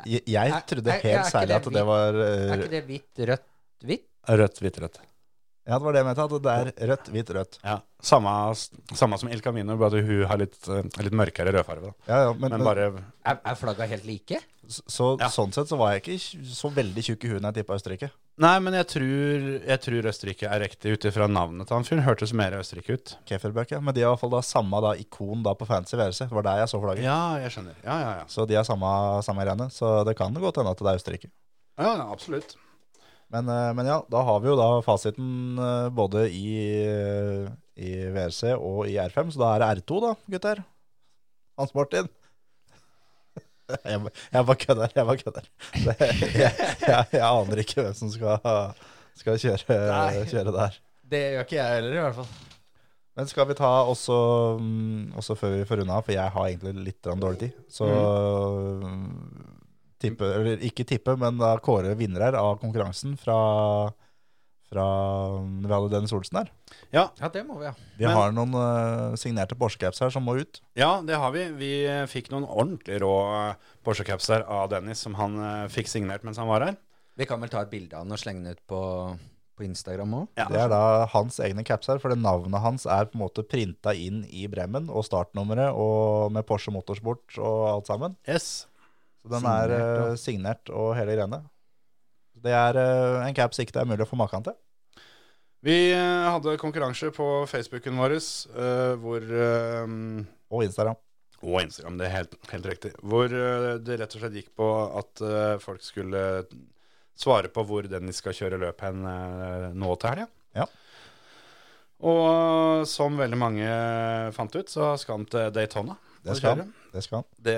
S3: Jeg, jeg
S4: Eh, Er-
S3: trodde
S4: er- er
S3: helt
S4: ikke
S3: særlig
S4: det
S3: at det
S4: hvit-
S3: var
S4: Er
S3: eh,
S4: ikke det hvitt, rødt, hvitt?
S2: Rødt, hvitt, rødt.
S3: Ja, det var det jeg mente. At det er rødt, hvitt, rødt.
S2: Ja, Samme, samme som El Camino, bare at hun har litt, eh, litt mørkere rødfarge. da.
S3: Ja, ja, men,
S2: Men
S3: men
S2: bare
S4: Er, er flagga helt like?
S3: så,
S2: Ja.
S3: sånn sett så var jeg ikke tj- så veldig tjukk i huet når jeg tippa Østerrike.
S2: Nei, men jeg tror, jeg tror Østerrike er riktig ut ifra navnet til han fyren. Hørtes mer Østerrike ut.
S3: Kefferbøck, ja. Men de har iallfall da samme da, ikon da på fancy VRC. Det var der jeg så flagget.
S2: Ja, jeg skjønner. Ja, ja, ja.
S3: Så de har samme, samme greiene. Så det kan godt hende at det er Østerrike.
S2: Ja, ja absolutt.
S3: Men, eh, men ja, da har vi jo da fasiten eh, både i, eh, i VRC og i R5, så da er det R2 da, gutter. Hans Martin. [laughs] Jeg, ba- jeg bare kødder, jeg bare kødder. [laughs] Det, jeg, jeg, jeg aner ikke hvem som skal, skal kjøre,
S4: Nei.
S3: kjøre der.
S4: Det gjør ikke jeg heller, i hvert fall.
S3: Men skal vi ta også, mm, også før vi får unna, for jeg har egentlig litt grann dårlig tid, så mm, tippe, eller ikke tippe, men da kåre vinner her av konkurransen fra, fra mm, vi hadde Dennis Olsen her.
S4: Ja, det må vi ha.
S3: Vi
S2: Men-
S3: har noen eh, signerte Porsche-caps her som må ut.
S2: Ja, det har vi. Vi eh, fikk noen ordentlig rå eh, Porsche-caps der av Dennis, som han eh, fikk signert mens han var her.
S4: Vi kan vel ta et bilde av den og slenge den ut på, på Instagram òg?
S2: Ja.
S3: Det er da hans egne caps her, for det navnet hans er på en måte printa inn i Bremmen, og startnummeret, og med Porsche Motorsport og alt sammen.
S2: Yes.
S3: Så den er
S4: Signert,
S3: eh, signert og hele greiene. Det er eh, en caps ikke det er mulig å få maken til.
S2: Vi eh, hadde konkurranse på Facebooken vår, eh, hvor eh,
S3: Og Instagram.
S2: Og Instagram, det er helt, helt riktig. Hvor eh, det rett og slett gikk på at eh, folk skulle svare på hvor Dennis skal kjøre løp hen eh, nå til helga.
S3: Ja.
S2: Og eh, som veldig mange fant ut, så skal han til Daytona.
S3: Det
S2: og
S3: skal
S2: kjøre.
S3: han. Det skal han.
S2: Det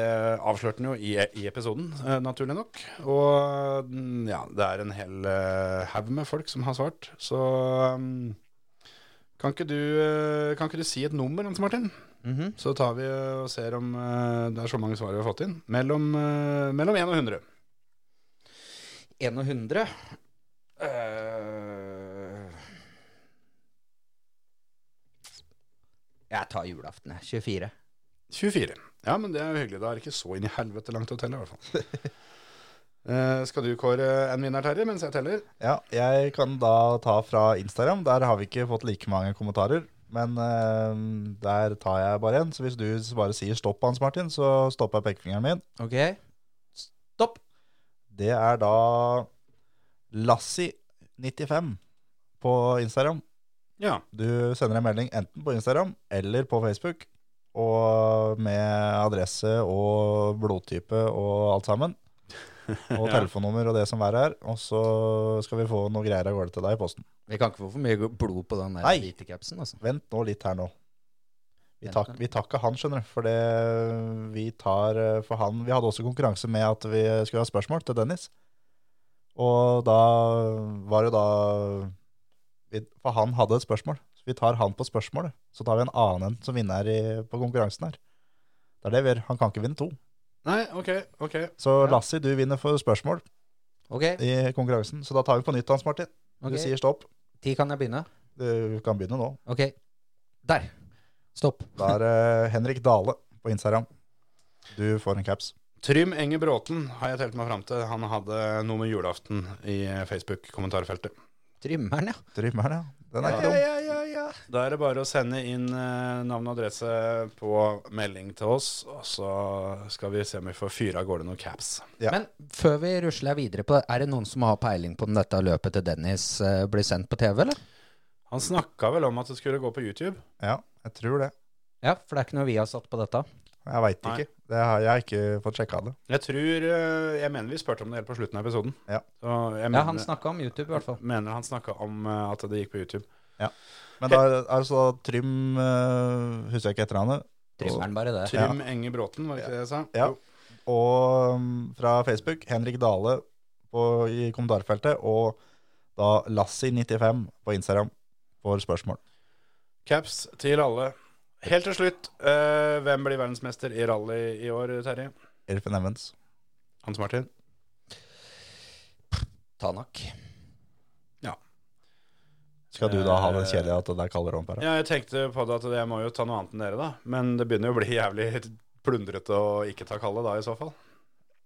S2: avslørte han jo i, i episoden, eh, naturlig nok. Og mm, ja, det er en hel eh, haug med folk som har svart. Så mm, kan ikke, du, eh, kan ikke du si et nummer, Hans Martin?
S4: Mhm.
S2: Så tar vi eh, og ser om eh, det er så mange svar vi har fått inn. Mellom, eh, mellom 1 og 100.
S4: 1 og 100. Eh, Jeg tar julaften, jeg. 24.
S2: 24. Ja, men det er jo hyggelig. Da er det ikke så inn i helvete langt å telle, i hvert fall. Eh, skal du kåre en vinner, Terje, mens jeg teller?
S3: Ja, jeg kan da ta fra Instagram. Der har vi ikke fått like mange kommentarer. Men eh, der tar jeg bare en. Så hvis du bare sier stopp, Hans Martin, så stopper jeg pekefingeren min.
S4: Ok. Stopp.
S3: Det er da Lassi95 på Instagram.
S2: Ja.
S3: Du sender en melding enten på Instagram eller på Facebook. Og med adresse og blodtype og alt sammen. Og
S2: Ja.
S3: telefonnummer og det som er her. Og så skal vi få noe greier av gårde til deg i posten.
S4: Vi kan ikke få for mye blod på den der
S3: Nei.
S4: hvite capsen, altså.
S3: Vent nå litt her nå. Vi
S4: Vent
S3: tar,
S4: nå.
S3: vi tar ikke han, skjønner du. For det vi tar eh, for han Vi hadde også konkurranse med at vi skulle ha spørsmål til Dennis. Og da var det da vi- For han hadde et spørsmål. Så vi tar han på spørsmålet. Så tar vi en annen en som vinner i, på konkurransen her. Det er det vi gjør. Han kan ikke vinne to.
S2: Nei, ok, ok.
S3: Så
S4: Ja.
S3: Lassi, du vinner for spørsmål
S4: Ok,
S3: i konkurransen. Så da tar vi på nytt, Hans Martin.
S4: ok.
S3: Du sier stopp.
S4: Ti kan jeg begynne?
S3: Du kan begynne nå.
S4: Ok. Der. Stopp.
S3: Da er det Henrik Dale på Instagram. Du får en caps.
S2: Trym Enge Bråten har jeg telt meg fram til. Han hadde noe med julaften i Facebook-kommentarfeltet.
S4: Trymmer'n, ja.
S3: Driv med den, ja. Den er
S2: Ja,
S3: ikke dum.
S2: ja, ja, ja. Da er det bare å sende inn eh, navn og adresse på melding til oss, og så skal vi se om vi får fyra av gårde noen caps.
S3: Ja.
S4: Men før vi rusler videre på det, er det noen som har peiling på om dette løpet til Dennis eh, blir sendt på TV, eller?
S2: Han snakka vel om at det skulle gå på YouTube?
S3: Ja, jeg tror det.
S4: Ja, for det er ikke noe vi har satt på dette.
S3: Jeg veit
S2: Nei.
S3: ikke. Det har, jeg har ikke fått sjekka det.
S2: Jeg tror eh, Jeg mener vi spurte om det helt på slutten av episoden.
S3: Ja.
S2: Så jeg mener,
S4: Ja, han snakka om YouTube, i hvert fall.
S2: mener han snakka om eh, at det gikk på YouTube.
S3: Men da er altså Trym eh, Husker jeg ikke etter han
S4: Trymmer'n, bare det.
S2: Trym Enge Bråten, var det ikke det jeg sa?
S3: Ja.
S2: Jo.
S3: Og mm, fra Facebook Henrik Dale på, i kommentarfeltet, og da Lassi95 på Instagram får spørsmål.
S2: Caps til alle. Helt til slutt, eh, hvem blir verdensmester i rally i år, Terje?
S3: Elfen Evans.
S2: Hans Martin?
S4: Tanak.
S3: Skal du da ha den kjedelige at det der kaller om bare?
S2: Ja, jeg tenkte på det at jeg må jo ta noe annet enn dere, da. Men det begynner jo å bli jævlig plundrete å ikke ta kallet da, i så fall.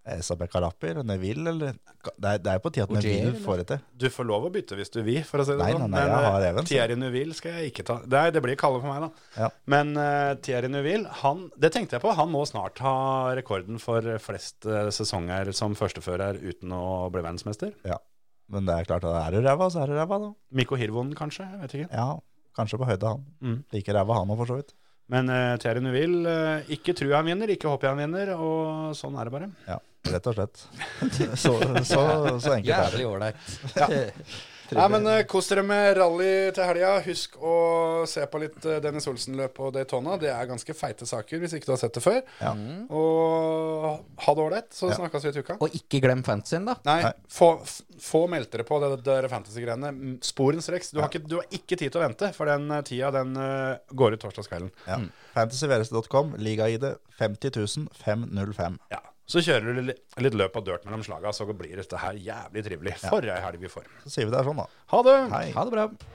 S2: Eh,
S3: Sabek Kalapi eller Neville, eller? Det er, det er på tide at
S4: Ogier,
S3: Neville
S4: eller?
S3: får det til.
S2: Du får lov å bytte hvis du vil, for å si det
S3: Nei,
S2: sånn.
S3: nei, nei, jeg
S2: eh,
S3: har Evans, ja.
S2: Thierry Neuville skal jeg ikke ta. Nei, det blir kallet for meg, da.
S3: Ja.
S2: Men eh, Thierry Neuville, han, det tenkte jeg på, han må snart ha rekorden for flest eh, sesonger som førstefører uten å bli verdensmester.
S3: Men det er klart at er du ræva, så er du ræva, da.
S2: Mikko Hirvonen, kanskje? Jeg vet ikke.
S3: Ja, kanskje på høyde, han.
S2: Mm.
S3: Like ræva han òg, for så vidt.
S2: Men eh, Thierry Neuville, eh, ikke tru han vinner, ikke håper jeg han vinner, og sånn er det bare.
S3: Ja, rett og slett. Så, så, så enkelt er det.
S4: Jævlig åleit. [laughs]
S2: Nei, men eh, Kos dere med rally til helga. Husk å se på litt eh, Dennis Olsen-løp og Daytona. Det er ganske feite saker hvis ikke du har sett det før.
S3: Ja.
S2: Og ha det ålreit, så
S3: Ja.
S2: snakkes vi til uka.
S4: Mm. Og ikke glem fantasyen, da.
S2: Nei,
S3: Nei.
S2: få, f- få meldt dere på det, det der fantasy-greiene. Mm, Sporenstreks. Du, har ikke- du har ikke tid til å vente, for den eh, tida den eh, går ut torsdagskvelden.
S3: Ja. Fantasyvereste.com, liga-ID 50505.
S2: Ja. Så kjører du li- litt løp og dirt mellom slaga, så blir dette her jævlig trivelig. For ei helg vi får.
S3: Så sier vi det er sånn, da.
S2: Ha det!
S3: Hei.
S4: Ha det bra.